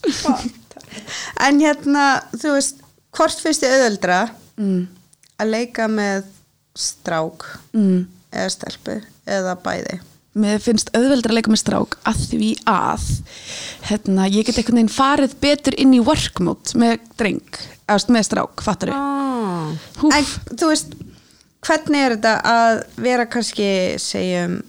En hérna, þú veist, hvort finnst þið auðveldra að leika með strák Mm. eða stelpu eða bæði Mér finnst auðveldra að leika með strák að því að hérna, ég get einhvern veginn farið betur inn í work mode með dreng, eða með strák, fattar ég. ah. Húff. En þú veist hvernig er þetta að vera kannski segjum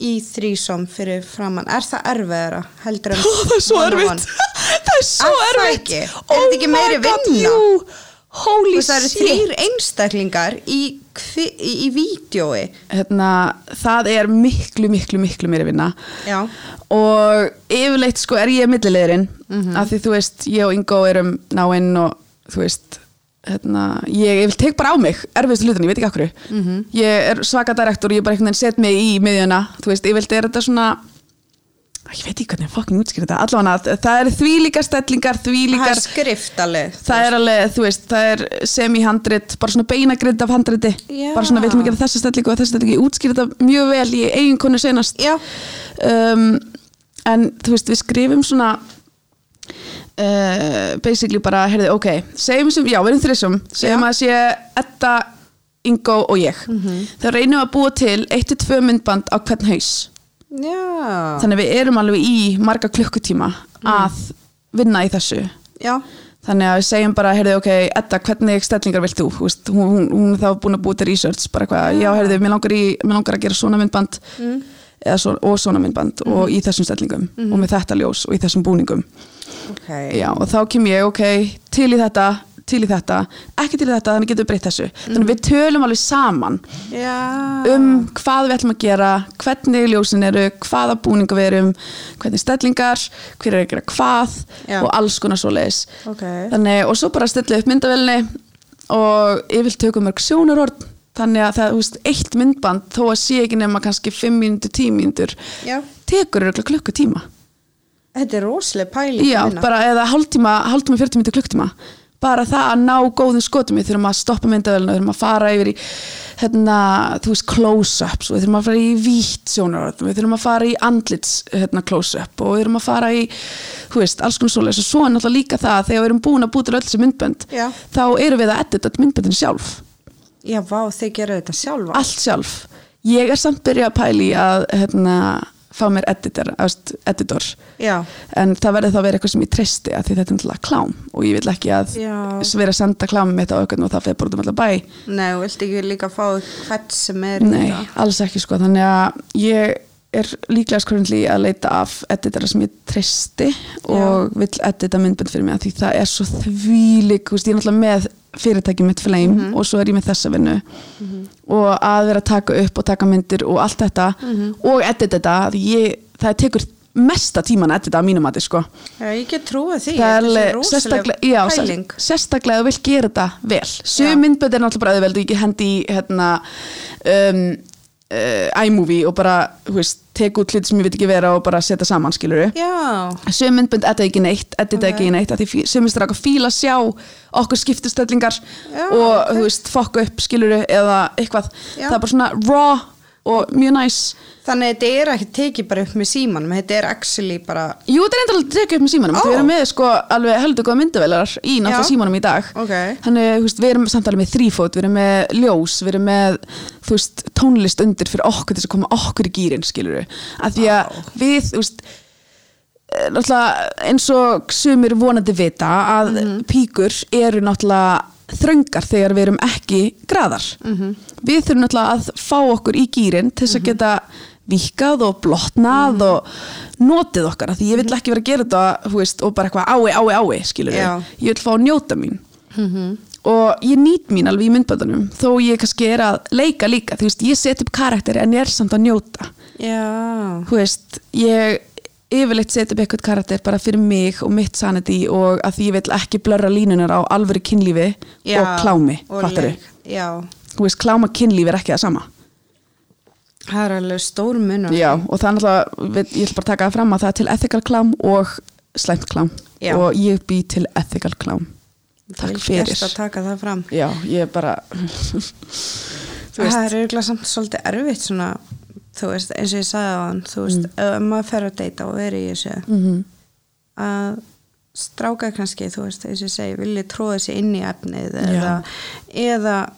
í þrísom fyrir framann er það erfiðara heldur en Það er svo one on erfitt. one? það er svo Er það erfitt. Oh ekki? Er þetta ekki my meiri God, vinna? Jú, holy Þú veist, shit. það eru þrýr einstaklingar í, kvi, í, í vídjói hérna, það er miklu, miklu, miklu meiri vinna Já. og yfirleitt sko er ég millilegurinn af því þú veist, ég og Ingo erum náinn og þú veist hérna, ég, ég vil tek bara á mig erfiðstu hlutin, ég veit ekki akkur -hmm. ég er svaka direktor, ég bara einhvern veginn set mig í miðjuna, þú veist, yfirleitt er þetta svona ég veit ekki hvernig ég fucking útskýr þetta allavega að það eru því líka stellingar, því það líkar er skriftalið það er alveg, þú veist, það er semi-handrit, bara svona beinagrind af handriti Já. bara svona við viljum gera þessa stellingu og þessa stellingu, ég útskýri þetta mjög vel í eigin konu senast Já. um, en þú veist, við skrifum svona uh, basically bara, heyrðu, ok segjum sem, já, við erum þrissum Já. segjum Mhm. að sé Edda, Ingo og ég þá reynum við að búa til 1-2 myndband á hvern haus Já, Mhm. þannig að við erum alveg í marga klukkutíma að vinna í þessu já, Þannig að við segjum bara, heyrðu, ok, Edda, hvernig stellingar vilt þú? Þú Veist, hún, hún, hún er þá búin að búið til research, bara hvað, já, heyrðu, mér langar, í, mér langar að gera svona myndband eða svo, og svona myndband og í þessum stellingum og með þetta ljós og í þessum búningum. ok Já, og þá kem ég, ok, til í þetta, til í þetta, ekki til í þetta, þannig getum við breytt þessu. Þannig að við tölum alveg saman Já, um hvað við ætlum að gera, hvernig ljósin eru, hvaða búninga við erum, hvernig stellingar, hver er að gera hvað Já. og alls konar svoleiðis. Ok. Þannig, og svo bara stilla upp myndavelni og yfir tökum mörg sjónarhorn, þannig að það, þú veist, eitt myndband þó að sé ekki nema kannski 5 mínútur, 10 mínútur, Já. tekur eru klukkutíma. þetta er rosaleg pæling Já, að vinna. bara eða hálftíma, hálftíma, 40 mínútur, klukkutíma. bara það að ná góðum skotum við þurfum að stoppa myndavelina, við þurfum að fara yfir í hérna, þú veist, close-ups og við þurfum að fara í vítt sjónaröð við þurfum að fara í andlits hérna, close-up og við þurfum að fara í þú veist, alls konar svoleiðis og svo er náttúrulega líka það að þegar við erum búin að búið til öll þessi myndbönd Já. þá erum við að edita myndböndin sjálf Já, vá, þið gera þetta sjálfa allt sjálf ég er samt byrjað að pæli að hérna, fá mér editor, ást, editor. Já, en það verður þá að vera eitthvað sem ég treysti af því þetta er náttúrulega klám og ég vil ekki að Já. vera að senda klám mitt á auðvitað og það fyrir bara út um allar bæ nei, og viltu ekki líka fá hvert sem er Nei, þetta? alls ekki sko, þannig að ég er líklega skröndli að leita af editara sem ég treysti og vill edita myndbönd fyrir mig af því það er svo þvílik, þú veist, ég er náttúrulega með fyrirtækið mitt flame Mhm. og svo er ég með þessa vinnu og að vera að taka upp og taka myndir og allt þetta Mhm. og edita þetta, því ég, það tekur mesta tíman að edita á mínum mati sko Já, ég get trúið því, það er alveg svo rosaleg sérstaklega, já, pæling sérstaklega ef þú vilt gera þetta vel Já. sögum myndbönd er náttúrulega bara auðveld og ég get hendi í hérna, um, uh, iMovie og bara þú veist, tek út hlut sem ég veit ekki vera og bara setja saman skilur við Já, sögum myndbönd edda ekki neitt, edda Ok. ekki neitt af því sögum stráka fíla sjá okkur skiptustöllingar Já, og ok. þú veist, fokka upp skilur eða eitthvað, Já. það er bara svona raw og mjög næs þannig að þetta er ekki tekið bara upp með símanum, þetta er actually bara, Jú, þetta er enda alveg að tekja upp með símanum Ó. Við erum með sko alveg heldur góða myndavelar í náttúrulega Já. símanum í dag Ok. Þannig, þú veist, við erum samt alveg með þrífót Við erum með ljós, við erum með þú veist, tónlist undir fyrir okkur til þess að koma okkur í gýrin, skilur við að Því að við, þú veist eh, náttúrulega eins og sumir vonandi vita að píkur eru náttúrulega þröngar þegar við erum ekki graðar við þurfum náttúrulega að fá okkur í gýrin til þess að geta vikað og blotnað og notið okkar af því ég vill ekki vera að gera þetta þú veist, og bara eitthvað ái, ái, ái skilur Já. ég vill fá að njóta mín og ég nýt mín alveg í myndböndunum þó ég kannski er að leika líka þú veist, ég set upp karakteri en ég er samt að njóta já, þú veist, ég yfirleitt setja upp eitthvað karakter bara fyrir mig og mitt sanity og að því ég vil ekki blörra línunar á alvöru kynlífi já og klámi, og fattar leik, Já, þú veist, kláma kynlífi er ekki það sama það er alveg stór munur Já, og það er náttúrulega, við- ég ætla bara að taka það fram að það er til ethical klám og slæmt klám Já. og ég bý til ethical klám Takk Vel fyrir gert að taka það fram Já, ég er bara Þú veist. Það er auðvitað samt svolítið erfitt svona, þú veist, eins og ég sagði á hann þú veist, ef maður fer að deyta og veri í þessu Mhm. að stráka kannski, þú veist, eins og ég segi vilji tróða sér inn í efnið Já. eða, eða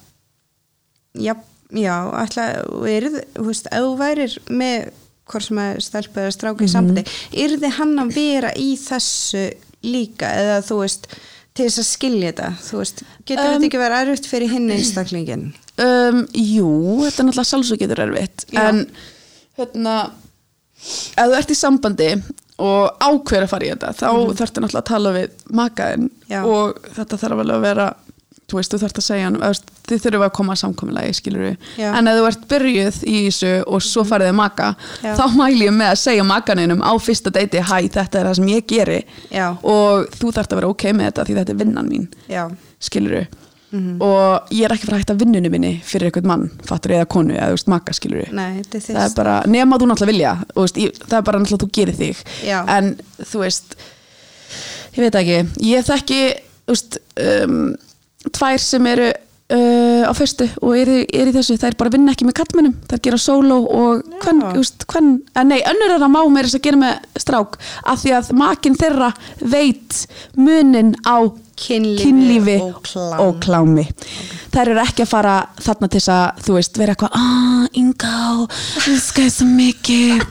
já, já, ætla erð, þú veist, ef þú værir með hvort sem að stelpa eða stráka í Mhm. sambandi yrði hann að vera í þessu líka eða þú veist til þess að skilja þetta, þú veist getur Um, þetta ekki verið erfitt fyrir hinn einstaklingin um, Jú, þetta er náttúrulega sjálfsög getur erfitt Já. en hérna ef þú ert í sambandi og ákveður að fara í þetta þá mm. þarftu náttúrulega að tala við makaðinn Mhm. Já. og þetta þarf alveg að vera þú veist, þú þarft að segja hann þið þurfum að koma að samkominlega, skilur við Já. Mhm. en ef þú ert byrjuð í þessu og svo farið þið maka, Já. þá mæli ég með að segja makaninum á fyrsta deiti, hæ, þetta er það sem ég geri Já. og þú þarft að vera ok með þetta því þetta er vinnan mín já, mhm. skiluru og ég er ekki frá að hætta vinnunni minni fyrir eitthvað mann, fattur eða konu eða þú veist maka skiluru nei, þetta er það er þess bara, nema þú náttúrulega vilja þú veist, ég, það er bara náttúrulega þú gerir þig Já. en þú veist ég veit ekki, ég þekki þú veist, um, tvær sem eru uh, á fyrstu og eru er í þessu, þær bara vinna ekki með kallmennum þær gera sóló og hvern, þú veist, hvern, eh, nei, önnur er að má meira þess að gera með strák, af því að makin þeirra veit munin á kynlífi, kynlífi og klám og klámi þær eru ekki að fara þarna til þess að þú veist, vera eitthvað ah, Inga, elska þér svo mikið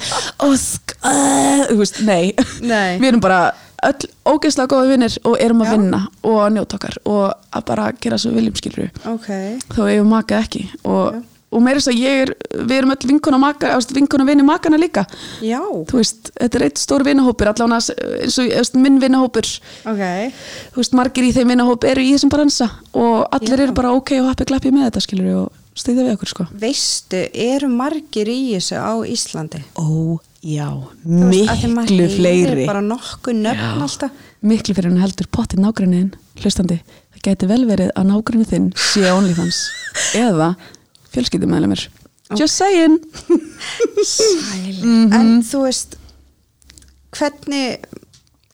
ósk uh, þú veist, nei. Nei. við erum bara öll ógeðslega góða vinnir og erum Já. að vinna og að njóta okkar og að bara gera svo viljum skilur ok, þó eigum maka ekki og, og meira þess að ég er, við erum öll vinkona maka, vinkona vinni makana líka já þú veist, þetta er eitt stór vinahópur allan að, eins og þú veist, minn vinahópur ok, þú veist, margir í þeim vinahóp eru í þessum bransa og allir Já. eru bara ok og happy clappy með þetta skilur og stýða við okkur sko veistu eru margir í þessu á Íslandi Ó, já, Þú veist, af því maður miklu heyrir fleiri bara nokkuð nöfn alltaf miklu fyrir hann heldur pottið nágranniðin hlustandi, það gæti vel verið að nágrannið þinn sé á OnlyFans eða fjölskyldumæðlemir just saying Mhm. en þú veist hvernig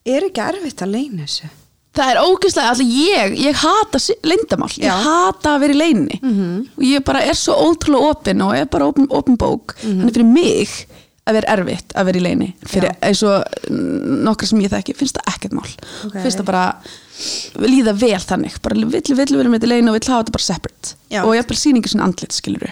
er ekki erfitt að leina þessu það er ógeðslega, alltaf ég, ég hata lindamál, Já. Mhm. ég hata að vera í leini og ég bara er svo ótrúlega opin og er bara opin, opin bók Mhm. þannig fyrir mig að vera erfitt að vera í leini fyrir eins og mm, nokkra sem ég þekki, finnst það ekkert mál Ok. finnst það bara líða vel þannig, bara vill, vill vera með þetta í leini og vill hafa þetta bara separate Já. og ég bara sýningu sinni andlit skilur við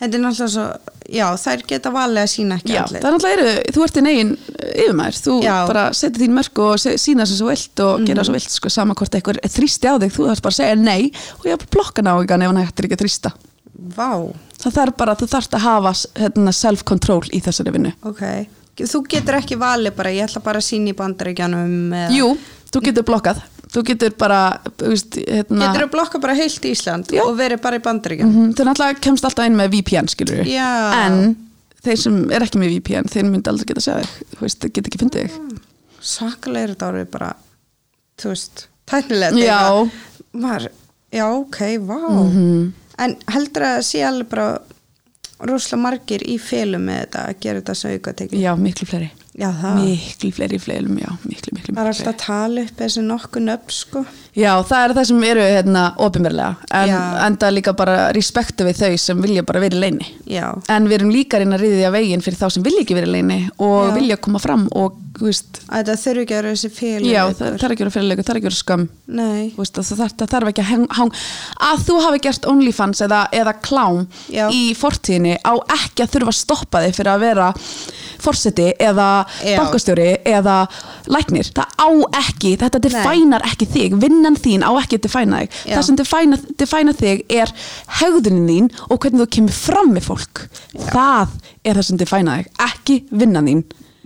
Þetta er náttúrulega svo, já, þær geta valið að sína ekki Já, andlit. það er náttúrulega eru, þú ert í negin yfirmaður, þú Já. Mhm. bara setur þín mörg og se- sína sem svo vilt og gera svo vilt sko, sama hvort eitthvað þrýsti á þig, þú þarfst bara að segja nei og ég bara blokka náðingan ef hann hættir ekki að þrýsta Vá, það þarf bara, þú þarfst að hafa s- hérna, self-control í þessari vinnu ok. Þú getur ekki valið bara, ég ætla bara að sína í bandaríkjanum. eða- Jú, þú getur blokkað þú getur bara, þú veist hérna, Getur að blokka bara heilt Ísland Já. og verið bara í bandaríkjanum. Mhm, þau náttúrulega kemst alltaf inn með VPN skilur við, Já. Mm. en þeir sem er ekki með VPN, þeir myndi aldrei geta að segja þig þú veist, geta ekki fundið Mm. þig Svakalega er þetta orðið bara, þú veist, tæknilega. Já. Var, já, ok, vá. En heldur að sé alveg bara rosalega margir í félum með þetta að gera þetta sem auka tekið. Já, miklu fleiri Já, það. miklu fleiri fleilum, já, miklu, Það miklu, er miklu alltaf að tala upp þessi nokkuð nöfn, sko. Já, það er það sem eru hérna ofinverlega en Já. enda líka bara respektu við þau sem vilja bara vera í leini Já, en við erum líka að reyna að riðið að veginn fyrir þá sem vilja ekki vera í leini og Já. vilja koma fram og, þú veist, að þetta þurfi ekki að vera þessi félum. já, það það er ekki að vera fyrirleiku, það er ekki að vera skam Nei, Þú veist, það, það, það þarf ekki að hang, hang að þú hafi gert OnlyFans eða, eða klám Já. í fortíðinni á ekki að þurfa að stoppa þig fyrir að vera forseti eða Já. bankastjóri eða læknir, það á ekki þetta definar ekki þig, vinnan þín á ekki að defina þig, Já. það sem defina, defina þig er hegðunin þín og hvernig þú kemur fram með fólk það er það sem defina þig, ekki vinnan þín,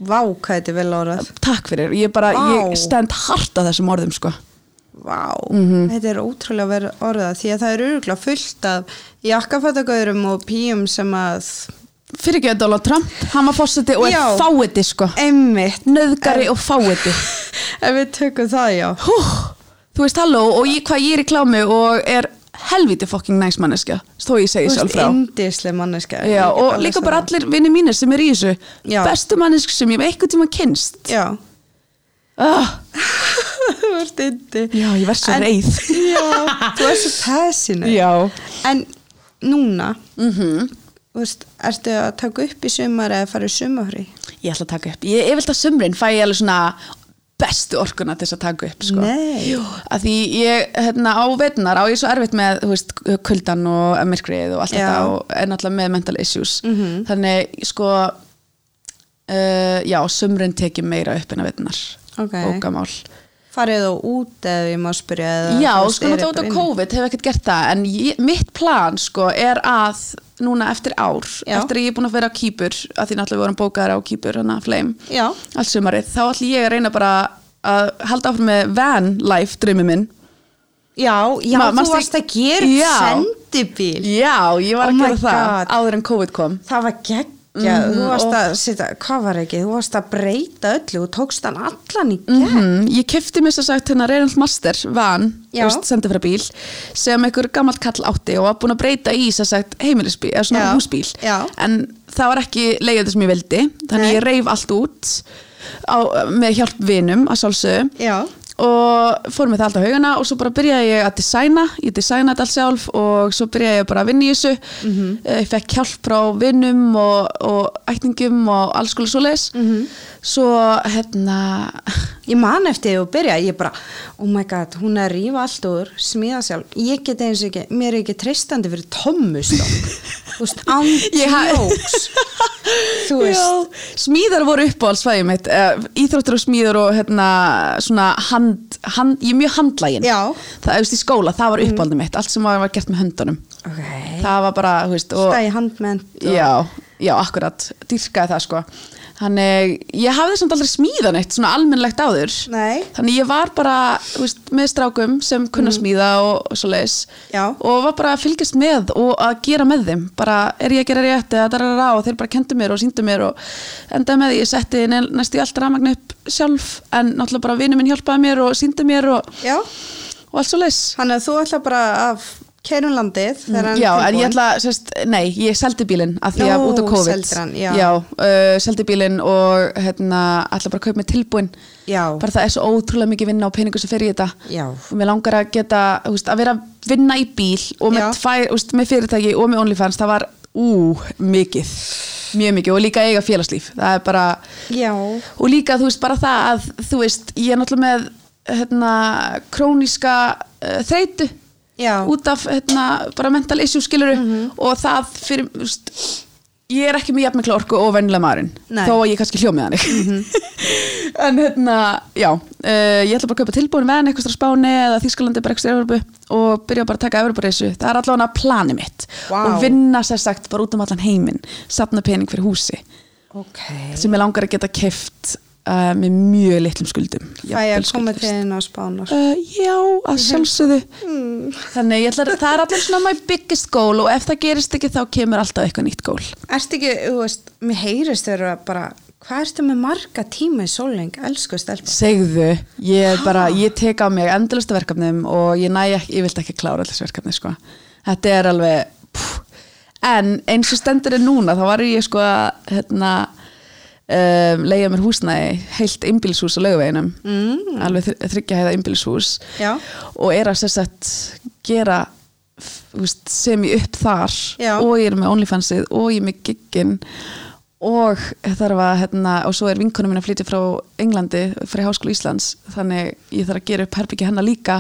vá, hvað þetta er vel orðað. takk fyrir ég bara, Vá. ég stend hart að þessum orðum sko Vá, þetta er ótrúlega vel orðað því að það er öruglega fullt af jakkafattagöðurum og píum sem að fyrir ekki að Donald Trump, hann var fórseti og er Já. fáiði sko, einmitt, nöðgari og fáiði ef við tökum það já. Hú, þú veist halló og ég, hvað ég er í klámi og er helviti fokking næs manneska, þó ég segi Þú sjálf veist, frá indislega manneska. Ég Já, get og alveg líka sagt bara það. allir vinnir mínir sem er í þessu Já. bestu mannesk sem ég hef einhvern tíma kynst Já, ah, þú ert indi. Já, ég verð svo En- reið Já, þú ert svo pæsinu. Já, En núna, þú veist, ertu að taka upp í sumar eða fara í sumafrí? ég ætla að taka upp ég, ég vilt að sumrin fæ ég alveg svona bestu orkuna til þess að taka upp sko. Nei. Jú, að því ég hérna, á veitnar á ég svo erfitt með þú veist, kuldan og myrkrið og allt Já. Mhm. þetta og er náttúrulega með mental issues þannig sko uh, já, sumrin tekið meira upp en að veitnar Ok. bókamál Farið þú út eða ég má spyrja eða Já, þú veist, sko er náttúrulega út eitthvað á inni? COVID hef ekkert gert það en ég, mitt plan sko er að núna eftir ár, Já. eftir að ég er búin að vera á Kýpur, að því náttúrulega við vorum bókaðar á Kýpur hana Flame, Já. allt sumarið þá ætlum ég að reyna bara að halda áfram með van life draumi minn Já, já, Ma- þú manstu- varst að gera upp Já. sendibíl Já, ég var Oh að my gera það God. áður en COVID kom Það var geggja, þú varst að sita, hvað var ekki, þú varst að breyta öllu og tókst hann allan í gegn Mm, ég kefti mér sem sagt hérna Reynald Master van, Já. þú veist, sendi frá bíl sem einhver gammalt kall átti og var búin að breyta í sem sagt heimilisbíl eða svona Já. húsbíl Já. en það var ekki leiðið sem ég vildi þannig Nei. ég reif allt út á, með hjálp vinum að sálsögum Já, og fór með það allt á haugana og svo bara byrjaði ég að designa ég designaði þetta allt sjálf og svo byrjaði ég bara að vinna í þessu mm Mhm. ég fekk hjálp frá vinnum og, og ætningum og alls konar svoleiðis Mhm. svo hérna ég man eftir því og byrja, ég bara, oh my god, hún er að rífa allt úr, smíða sjálf, ég get eins og ekki, mér er ekki treystandi fyrir tommustokk, þú veist, Ég ha- ándjóks, þú veist, Já, smíðar voru uppáhaldsfæðið mitt eh, íþróttir og smíðar og hérna svona hand, hand ég er mjög handlægin Já. Mm. það auðvist í skóla, það var uppáhaldið mitt allt sem var gert með höndunum ok, það var bara, þú veist og, stæði handmennt og, já, já, akkurat, dýrkaði það sko þannig, ég hafði samt aldrei smíðan eitt svona almennlegt áður Nei. þannig ég var bara, þú veist, með strákum sem kunna smíða og, og svo leis Mhm. Já. og var bara að fylgjast með og að gera með þeim, bara er ég að gera rétt eða darara og þeir bara kendu mér og síndu mér og endaði með því, ég setti ne- næstu í allt rafmagn upp sjálf en náttúrulega bara vinur minn hjálpaði mér og síndu mér og, já, og allt svo leis þannig að þú ætla bara að keirum landið þegar hann Mm, Já, er en ég tilbúinn. ætla, sérst, nei, ég seldi bílinn af því að Nú, út af COVID seldir hann, já. uh, seldi bílinn og hérna, ætla bara að kaupa mig tilbúinn Já. bara það er svo ótrúlega mikið vinna og peningur sem fer í þetta Já. og mér langar að geta, þú veist, að vera að vinna í bíl og með, Já. tvær, þú veist, með fyrirtæki og með OnlyFans, það var ú, mikið, mjög mikið og líka eiga félagslíf, það er bara Já, og líka þú veist bara það að þú veist ég er náttúrulega með hérna, króníska uh, þreytu Já. Mhm. út af hérna, bara mental issue skiluru og það fyrir þú veist, ég er ekki með jafn mikla orku og venjulega maðurinn Nei. Mhm. þó að ég kannski hljómið hann en hérna, já uh, ég ætla bara að kaupa tilbúin með hann eitthvað á Spáni eða Þískalandi bara eitthvað Evropu og byrja bara að taka Evropu-reisu, það er allavega planið mitt Vá. og vinna sér sagt bara út um allan heiminn, safna pening fyrir húsi ok sem ég langar að geta keft uh, með mjög litlum skuldum Fæ ég Jafnvel að koma til skuldlaust. þín á spánar Uh, já, að sjálfsögðu Þannig ég ætlar, það er allir svona my biggest goal og ef það gerist ekki þá kemur alltaf eitthvað nýtt goal Ertu ekki, þú veist, mér heyrist þeirra bara, hvað ertu með marga tíma í sóling, elsku stelpa Segðu, ég er bara, ég tek á mig endalista verkefnum og ég næ ekki, ég vilt ekki klára allir þessi verkefni sko Þetta er alveg pff. En eins og stendur er núna þá var ég sko að hérna, um, leiða mér húsnæði heilt einbýlishús á laugaveginum mm. alveg þr- þriggja heiða einbýlishús Já. og er að sérsett gera f- þú veist, sem ég upp þar Já. og ég er með OnlyFansið og ég er með giggin og þarf að hérna, og svo er vinkonum minn að flytja frá Englandi fyrir Háskóla Íslands þannig ég þarf að gera upp herbyggi hennar líka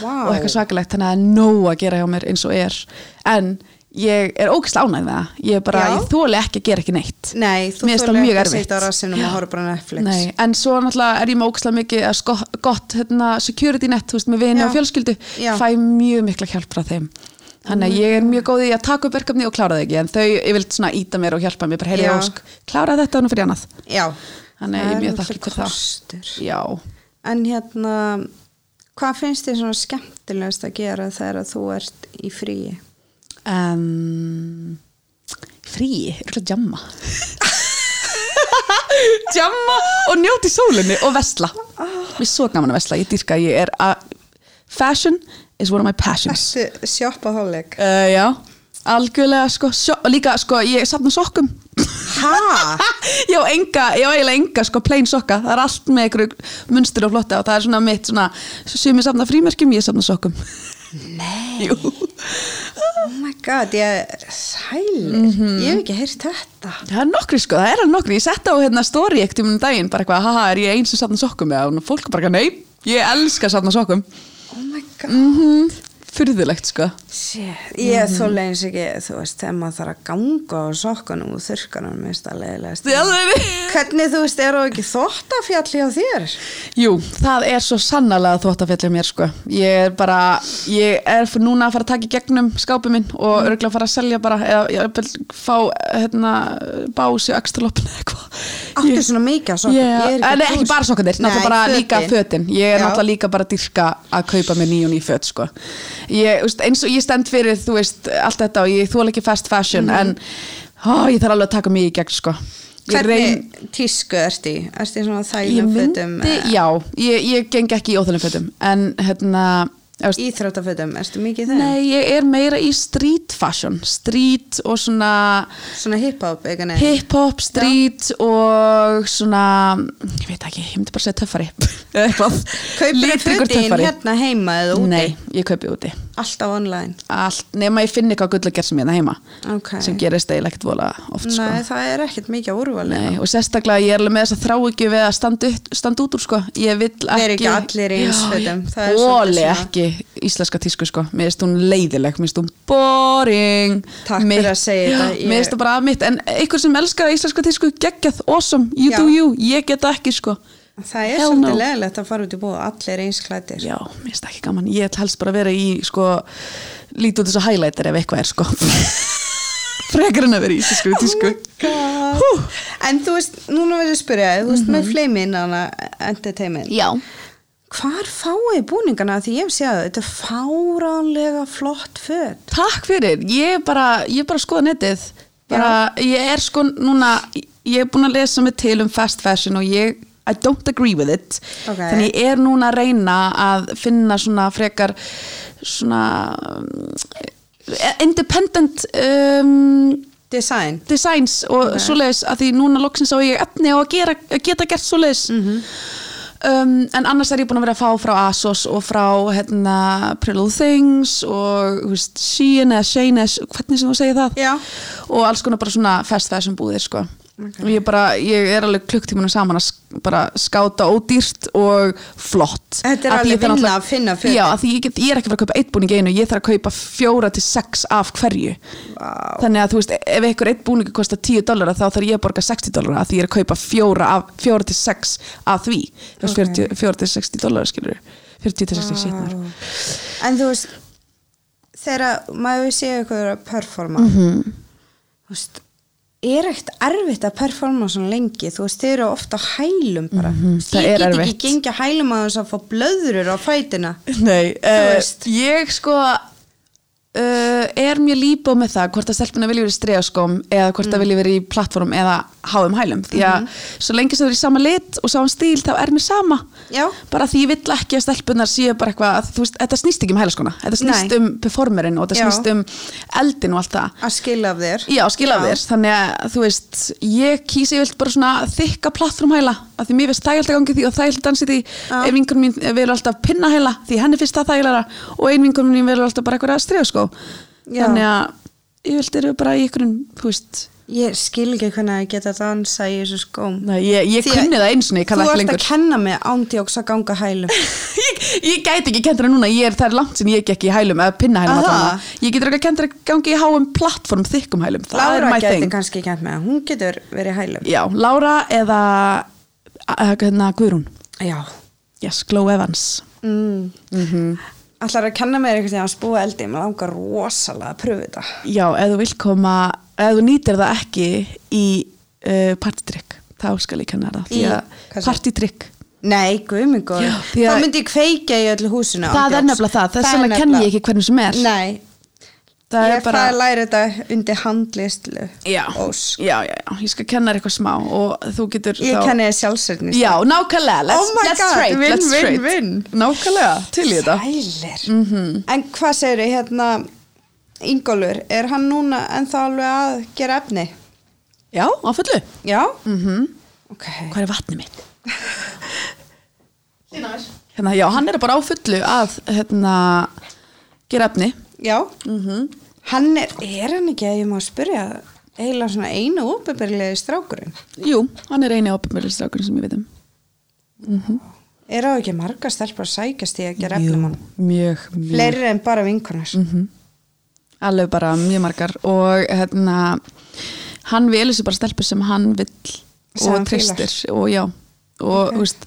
Vá. og eitthvað svakalegt þannig að það er nóg að gera hjá mér eins og er en ég er ógislega ánægð með það ég er bara, Já. ég þóli ekki að gera ekki neitt Nei, þú Mér finnst þolir það ekki mjög að sitja á erfitt. rassinum og horfa bara á Netflix Nei, en svo náttúrulega er ég með ógslag mikið að sko, gott hérna, security net, þú veist, með vini Já. og fjölskyldu Já. fæ mjög mikla hjálp frá þeim þannig að ég er mjög góð í að taka upp verkefni og klára það ekki, en þau yfirlt svona íta mér og hjálpa mér, bara heyrðu Já. ósk, klára þetta og nú fyrir annað, Já, þannig að ég er mjög náttúrulega þakkir fyrir það kostur. Já, En hérna, hvað finnst þér svona skemmtilegast að gera þegar að þú ert í fríi? um, frí, örgulega jamma jamma og njóti sólinni og vesla Ah. mér er svo gaman að vesla, ég dýrka ég er að fashion is one of my passions Ertu sjoppahólig? Uh, já, algjörlega sko, sjó, og líka sko, ég sapna sokkum Ha? ég á enga, ég á eiginlega enga sko, plain sokka, það er allt með ykkur munstur og flotta og það er svona mitt svona, sem ég sapna frímerkjum, ég sapna sokkum Nei Jú, Oh my god, ég sælir, Mhm. ég hef ekki heyrt þetta. það er nokkri sko, það er alveg nokkri ég sett á hérna story ekkert um daginn, bara eitthvað haha, er ég eins sem sapna sokkum eða og fólk bara, nei, ég elska að sapna sokkum Oh my god. Mm. furðulegt sko Shit, ég mm Mhm. -hmm. þó leins ekki, þú veist, þegar maður þarf að ganga á sokkunum og þurrkanum, mér finnst það leiðilegast. Í alvörunni? Hvernig, þú veist, er það ekki þóttafjalli á þér? Jú, það er svo sannlega þvóttafellið mér sko. Ég er bara, ég er fyrir núna að fara að taka í gegnum skápið minn og mm. örgulega fara að selja bara eða ég vil fá hérna, bás í axtalopinu eitthvað. Áttu Ég- svona mikið af sokkum? Yeah. Ég er ekki en að ekki trúa bara þessu. sokkarnir, náttúrulega Nei, bara fötin. líka fötin. Ég er Já. náttúrulega líka bara að dyrka að kaupa mér ný og ný föt sko. Ég, þú veist, eins og ég stend fyrir, þú veist, allt þetta og ég þól ekki fast fashion Mm. en ó, ég þarf alveg að taka mig í gegn sko. Ég reyn- Hvernig tísku ert í? Ert í svona ég þægilegum myndi, fötum? já, ég, ég geng ekki í óþjóðlega fötum en hérna ég veist, Íþróttafötum, ertu mikið í þeim? nei, ég er meira í street fashion street og svona Svona hip-hop, eitthvað neina? hip-hop, street og svona, ég veit ekki ég myndi bara segja töffari Eða eitthvað. Kaupir Litríkur fötin hérna heima eða úti? Nei, ég kaupi úti Alltaf online? Allt, nema ég finn eitthvað gull að gera sem ég það heima Ok. sem gerist eiginlega ekkert vola oft sko. Nei, það er ekkert mikið úrvalið. Nei, og sérstaklega ég er alveg með þess að þrá ekki við að standa, ut, standa út úr sko ég vil ekki Vera ekki allir í eins fötum. Það er svolítið bóli svona- ekki íslenska tísku sko mér finnst hún leiðileg, mér finnst hún boring Takk fyrir að segja þetta, Já, ég- mér finnst það bara að mitt, en einhver sem elskar íslenska tísku geggjað, awesome, you Já. do you ég get það ekki sko Það er Hell svolítið no. leðilegt að fara út í búið og allir eins klættir. já, mér finnst það ekki gaman, ég ætla helst bara að vera í sko, lítið út þess að highlighter ef eitthvað er sko frekar en að vera í íslensku tísku Hú. Oh En þú veist, núna verður ég að spyrja, þig, Mhm. þú veist með fleimin hana entertainment. já Hvar fáið þið búningana því ég hef séð þau, þetta er fáránlega flott föt. Takk fyrir, ég er bara, ég er bara að skoða netið bara, ég er sko núna ég er búin að lesa mig til um fast fashion og ég, I don't agree with it Ok. þannig ég er núna að reyna að finna svona frekar svona um, independent um, design designs og Ok. svoleiðis að því núna loksins á ég efni á að, gera, að geta gert svoleiðis Mhm. um, en annars er ég búin að vera að fá frá ASOS og frá hérna, Pretty Little Things og þú veist, Shein eða Shein eða hvernig sem þú segir það Já. og alls konar bara svona fast fashion búðir sko og ég bara, ég er alveg klukktímanum saman að sk bara skáta ódýrt og flott Þetta er Af því alveg ég þarf vinna náttúrulega- að finna fötin. Já, af því ég, get, ég er ekki að fara að kaupa eitt búning í einu ég þarf að kaupa fjóra til sex af hverju Vá. þannig að þú veist, ef einhver eitt búningu kostar 10 dollara þá þarf ég að borga 60 dollara af því ég er að kaupa fjóra, af, fjóra til sex af því, þú veist, Ok. 40 fjóra til 60 dollara skilur 40 til 60 wow. Vá. en þú veist þegar maður sé eitthvað að performa -hmm. Mhm. þú veist er ekkert erfitt að performa svona lengi þú veist, þeir eru ofta hælum bara mm Mhm, það ég er get erfitt. ekki gengið að hælum að þess að fá blöðurur á fætina Nei, uh, veist. ég sko uh, er mjög líbó með það hvort að stelpuna vilja verið í stregaskóm eða hvort Mm. að vilja verið í plattform eða háum hælum því að Mhm. svo lengi sem þú er í sama lit og sama stíl þá er mér sama Já. bara því ég vill ekki að stelpunar séu bara eitthvað að, þú veist, þetta snýst ekki um hælaskona þetta snýst Nei. um performerin og þetta Já. snýst um eldin og allt það að skila af þér Já, skila af þér, þannig að þú veist ég kýsi vilt bara svona þykka plattformhæla, af því mér finnst það alltaf gangið því og það alltaf dansið því, Já. ef vingur mín velur alltaf pinnahæla, því henni finnst það þægilega og ein vingur mín velur alltaf bara eitthvað að strefa sko, Já. þannig að ég vilt eru bara í einhverjum, þú veist ég skil ekki hvernig að geta dansa í þessu skóm Nei, ég, ég Því að- kunni það eins og ég kann þú það ekki ert lengur að kenna mig ándjóks að ganga hælum ég, ég gæti ekki kendur núna, ég er, það er langt sem ég gekk í hælum eða pinnahælum Aha. allavega. ég getur ekki kendur að gangi í háum plattform þykkum hælum, það er Lára my geti thing. kannski kent með hún getur verið í hælum Já, Lára eða eh, hérna Guðrún já Yes, Glow Evans mm. Mhm. Ætlar að kenna mér eitthvað að spúa eldi, maður langar rosalega að pröfu þetta. Já, ef þú vilt koma ef þú nýtir það ekki í uh, partydrykk þá skal ég kenna þér það Í- því hvað að sagði- partydrykk Nei, guðmingur, Já, þá því að- myndi ég kveika í öllu húsinu. það er ángjóks. nefnilega það, þess er vegna kenn ég nefnilega- ekki hvernig sem er Nei, það ég er bara að læra þetta undir handlistlu. já, Ós. já, já, já, ég skal kenna þér eitthvað smá og þú getur Ég þá kenni það sjálfsögnis. Já, nákvæmlega, let's, Oh my let's God, trade win, let's win, trade. win. Nákvæmlega, til í þetta Sælir. Mhm. En hvað segirðu hérna, Ingólfur, er hann núna ennþá alveg að gera efni? Já, á fullu Já? Mm Mhm. -hmm. Ok. Hvað er vatnið mitt? Hérna, já, hann er bara á fullu að hérna, gera efni Já? Mhm. Hann er, er hann ekki að ég má spyrja eiginlega svona einu óbyrðilegi strákurinn? Jú, hann er eini ábyrgmjörlistrákurinn sem ég veit um Er á ekki marga stelpur að sækjast í að gera efnum hann? mjög, mjög Fleiri en bara vinkunar. Mhm. Alveg bara mjög margar og hérna hann velur sér bara stelpur sem hann vill Sem og hann fílar. treystir og já og þú veist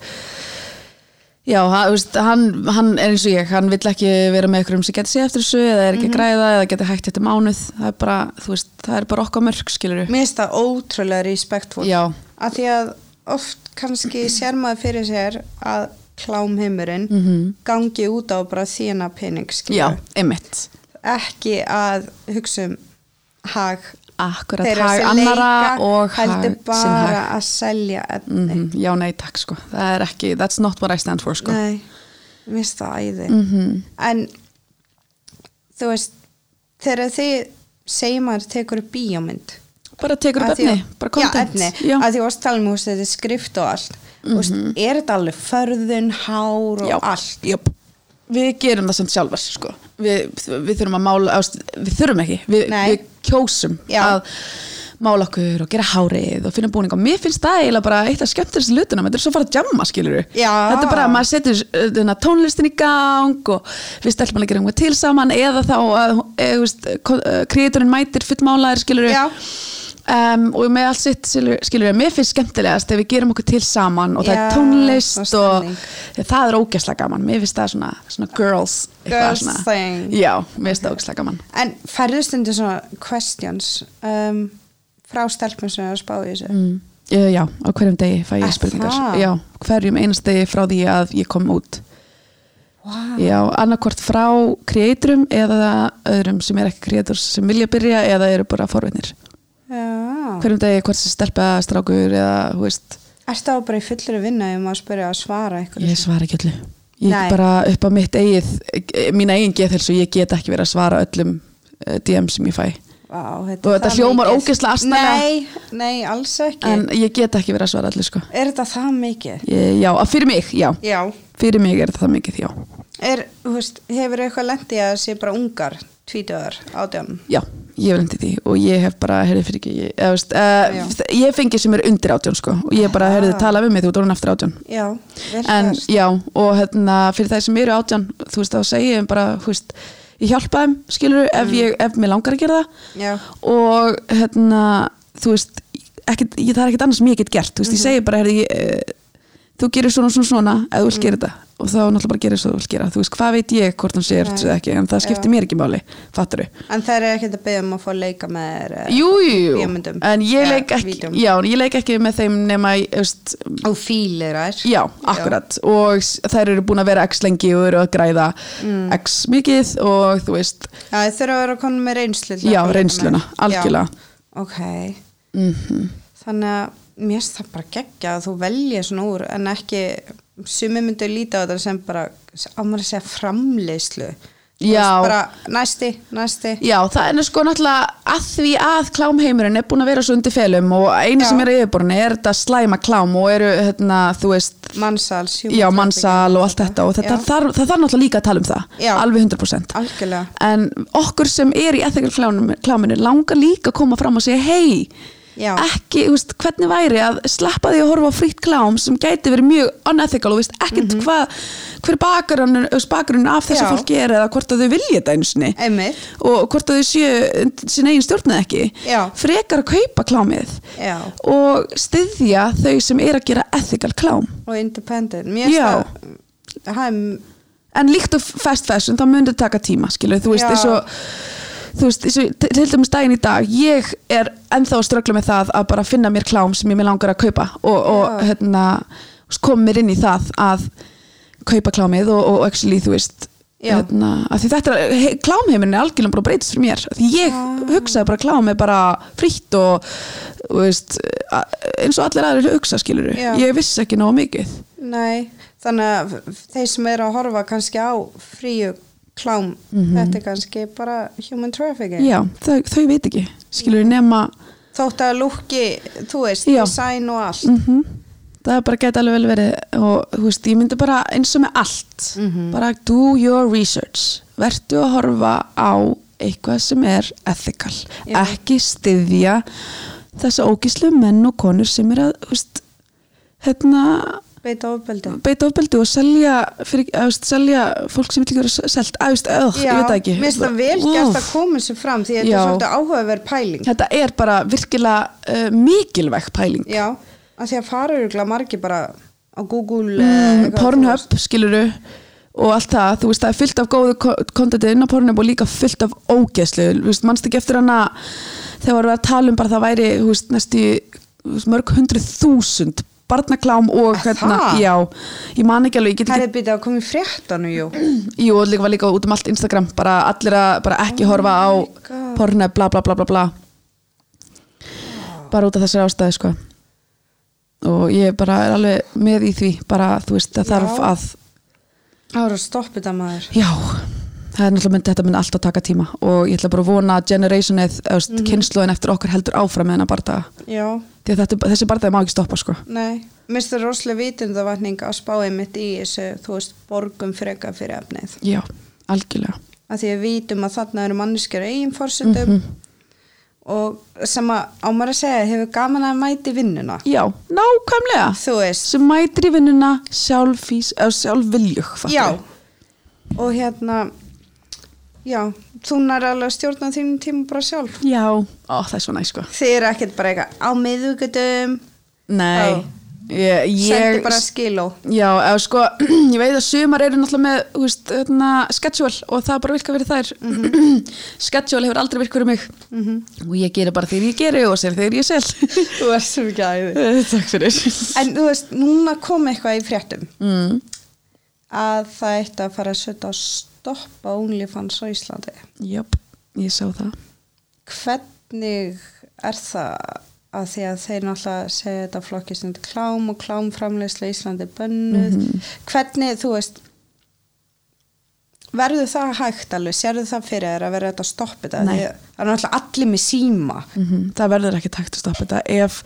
Já, hann, þú veist, hann, hann er eins og ég, hann vill ekki vera með ykkur um sem getur sig eftir þessu eða er Mhm. ekki að græða eða getur hægt þetta mánuð, það er bara, þú veist, það er bara okkar mörg, skilur Mér finnst það ótrúlega respektfól. Já. Af því að oft kannski sér maður fyrir sér að klám heimurinn gangi út á bara þína pening, Mhm. Já, skilur. einmitt Ekki að hugsa um hag Akkurat þeirra hag sem annara leika, og hag heldur sinn bara hag að selja efni. Mhm, Já, nei, takk sko, það er ekki that's not what I stand for sko Mm. Mhm. Nei, mér finnst það æði -hmm. En þú veist þegar þið segir maður tekur upp bíómynd bara tekur upp Af því efni, að- bara content Já, efni, Já. Mhm. að því ástalmi húst þetta er skrift og allt mm -hmm. Er þetta alveg förðun, hár og Já, allt jöp. við gerum það samt sjálfar sko. við, við þurfum að mála ást, við þurfum ekki, við, Nei. við kjósum Já. að mála okkur og gera hárið og finna búning og mér finnst það eiginlega bara eitt af skemmtilegstu lutunum, þetta er svo að fara að jamma skilur Já. þetta er bara að maður setur uh, þarna tónlistin í gang og við stelpum að gera einhver til saman eða þá að e, veist, ko- uh, kreatorinn mætir fullmálaðir skilur Já. Um, og með allt sitt skilur, skilur mér finnst skemmtilegast ef við gerum okkur til saman og það Já, er tónlist og og, stemning. Þegar það er ógæslega gaman, mér finnst það svona, svona girls, eitthvað Girls thing. Já, mér finnst það ógæslega gaman En færðust undir svona questions um, frá stelpum sem er að spá í þessu mm. Já, á hverjum degi fæ ég Er spurningar það? Já, hverjum einast degi frá því að ég kom út wow. Já, annarkvort frá kreaturum eða öðrum sem er ekki kreatur sem vilja byrja eða eru bara forvinnir Já. Hverjum degi, hvort sem stelpa, strákur eða, hú veist, Ertu á bara í fullri vinna ef maður spyrja að svara eitthvað ég svara ekki öllu ég Nei. er bara upp á mitt eigið eh, mína eigin geðhelsu, ég get ekki verið að svara öllum eh, DM sem ég fæ Vá, Og er þetta það hljómar mikið. ógeðslega asnalega. Nei, nei, alls ekki en ég get ekki verið að svara öllu sko Er þetta það mikið? ég, já, að fyrir mig, já Já fyrir mig er það mikið, já er, þú veist, Hefur eitthvað lendi að það sé bara ungar tvítöðar ádjánum? já, ég hef lendið því og ég hef bara, heyrðu fyrir ekki ég, eða, veist, uh, ég hef fengið sem er undir átjón sko og ég hef bara, heyrðu, tala við mig þú ert orðin aftur átjón Já, Ah. vel en gert. já, og hérna fyrir þeir sem eru átján, þú veist þá segi ég þeim bara, þú veist, ég hjálpa þeim skilur Mm. ef, ég, ef mér langar að gera það Já. og hérna þú veist, ekkit, ég, það er ekkert annað sem ég get gert, þú veist, ég segi bara herri, ég, eh, þú gerir svona svona svona ef þú vilt gera þetta og þá náttúrulega bara gerir svo þú vilt gera þú veist, hvað veit ég hvort hann sé eftir eða ekki en það skiptir Já. mér ekki máli, fattur En það er ekkert að beðja um að fá að leika með þér eh, jú, jú, jú, bíómyndum. en ég Eða leik ekki vídeóm. já, en ég leik ekki með þeim nema, ég, þú veist, Og fílir þær Já, akkurat og s- þær eru búin að vera x lengi og eru að græða x mikið og þú veist, Já, þeir þurfa að vera komin með reynslu til að fá Já, að leika reynsluna, með. algjörlega. Mhm. Já, ok Þannig að mér finnst það bara geggja að þú velja svona úr en ekki, sumi myndu líta á þetta sem bara, á maður að segja framleiðslu Þú Já. veist, bara, Næsti, næsti já, það er nú sko náttúrulega að því að klámheimurinn er búin að vera svo undir felum og Já. eina sem er að yfirborna er þetta slæma klám og eru, hérna, þú veist, Mansals human já, trafficking. mannsal og allt þetta og þetta Já. þarf, það þarf náttúrulega líka að tala um það, Já. alveg 100%. Algjörlega En okkur sem er í ethical klám- kláminu langar líka að koma fram og segja, hei, Já. ekki, þú veist, hvernig væri að slappa því að horfa á frýtt klám sem gæti verið mjög unethical og þú veist ekkert hvað, hver bakgrunn, bakgrunn af þessu Mhm. Já. fólki er eða hvort að þau vilja þetta einu sinni Einmitt, og hvort að þau séu undir sinna eigin stjórnað ekki Já. frekar að kaupa klámið Já. og styðja þau sem er að gera ethical klám og independent Mér finnst Já. það- það er- en líkt og fast fashion þá myndir taka tíma skilur, þú veist, Já. eins og þú veist, eins og til- til dæmis daginn í dag ég er ennþá að ströggla með það að bara finna mér klám sem ég mér langar að kaupa og, og hérna, kom mér inn í það að kaupa klámið og, og actually, þú veist Já. hérna, af því þetta er, he, klámheimurinn er algjörlega bara breytist fyrir mér, af því ég hugsaði bara klám er bara frítt og þú veist, a- eins og allir aðrir hugsa skilur, Já. ég vissi ekki nóg mikið Nei, þannig að þeir sem eru að horfa kannski á fríu klám, þetta er kannski bara human trafficking. Mhm. já, þau, þau veit ekki skilur nema Þótt að lúkki, þú veist, Já. design og allt. mm það er bara gæti alveg vel verið og þú veist, ég myndi bara eins og með allt bara do your research vertu að horfa á eitthvað sem er ethical Já. ekki styðja þessa ógíslu menn og konur sem er að þú veist, hérna Beita ofbeldi. beita ofbeldi og selja, fyrir, að, þú veist, selja fólk sem vil ekki vera selt að, þú veist, öð, Ah, ég veit það ekki mér finnst það vel Úff. gert að koma sér fram því þetta Já. er svolítið áhugaverð pæling. þetta er bara virkilega uh, mikilvæg pæling Já, að því að fara öruglega margir bara á Google. eða mm, eitthvað, þú veist. Pornhub, skiluru og allt það, þú veist, það er fullt af góðu kontentið inn á Pornhub og líka fullt af ógeðslu, þú veist, mannst ekki eftir hana þegar við varum að tala um bara það væri þú veist, næstu í, þú veist, mörg hundruð þúsund barnaklám og Er hérna, það? já, ég man ekki alveg ég get Það ekki, er býtið að koma í fréttanu, jú. jú, og líka var líka út um allt Instagram, bara allir að bara ekki horfa á Oh God. Pornhub, bla bla bla bla bla bara út af þessari ástæði, sko og ég bara er alveg með í því, bara, þú veist, það þarf Já. að Það voru að stoppa þetta maður. Já, það er náttúrulega myndi, þetta myndi alltaf taka tíma og ég ætla bara að vona að generationið, mm -hmm. kynnslóðin eftir okkar heldur áfram með hennar barða Já, því að þetta, þessi barða má ekki stoppa sko nei. Mér finnst það rosalega vitundavatning að spáið mitt í þessu, þú veist, borgum freka fyrir efnið. Já, algjörlega að því að við vitum að þarna eru manneskjur á eigin fórsöndum og sem að á maður að segja hefur gaman að mæti vinnuna Já, nákvæmlega þú veist, sem mætir í vinnuna sjálfís, eða sjálfviljug fattar já við. og hérna já, þú nær alveg að stjórna þínum tíma bara sjálf Já, ó, það er svo næ sko þið eru ekkert bara eitthvað á miðugutum Nei, Já. ég, sendi ég bara skiló Já, eða sko, ég veit að sumar eru náttúrulega með, þú veist, hérna, schedule og það bara virka fyrir þær schedule hefur aldrei virkað fyrir mig og ég geri bara þegar ég geri og sel þegar ég sel þú ert sem ekki aðeins Takk fyrir en þú veist, núna kom eitthvað í fréttum mm. að það eitt að fara að setja að stoppa OnlyFans á Íslandi Jöp, ég sá það hvernig er það að því að þeir náttúrulega segja Mhm. þetta flokkist undir klám og klámframleysla Íslandi bönnuð hvernig, þú veist verður það hægt alveg, sérðu það fyrir þér að verður þetta að stoppa þetta Nei. Því að það er náttúrulega allir með síma -hmm. Það verður ekki takt að stoppa þetta ef,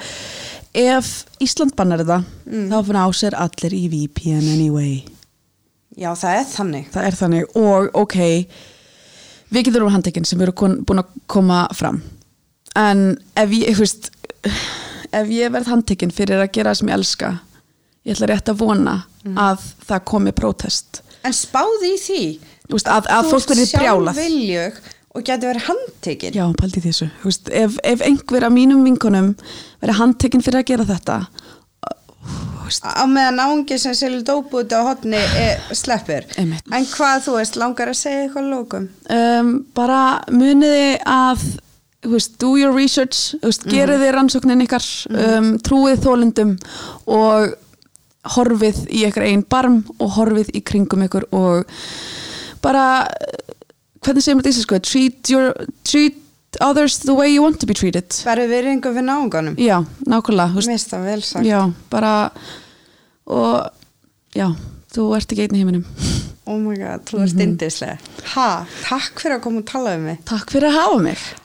ef Ísland bannar þetta þá fyrir á sér allir í VPN anyway já það er þannig það er þannig og ok við getur um handtekinn sem eru kon, búin að koma fram en ef ég, þú veist ef ég verð handtekinn fyrir að gera það sem ég elska ég ætla rétt að vona að það komi prótest en spáði í því Þú veist, að, að fólk verður brjálað sjálfviljug og getur verið handtekinn Já, pældi í þessu. Þú Veist, ef, ef einhver af mínum vinkunum verið handtekinn fyrir að gera þetta, á meðan ángi sem selur dópu út á hotni er, sleppur Einmitt. en hvað þú veist, langar að segja eitthvað að lókum um, bara muniði að þú veist, do your research, þú veist, gerið þið rannsóknin ykkar, um, trúið þólendum og horfið í ykkar einn barm og horfið í kringum ykkur og bara eh, hvernig segir maður þetta í íslensku? treat, your, treat others the way you want to be treated verður við reyngu við náunganum já, nákvæmlega þú veist, mér finnst það vel sagt já, bara og já, þú ert ekki einn í heiminum oh my god, þú ert mm -hmm. indislega ha, takk fyrir að koma og tala um mig takk fyrir að hafa mig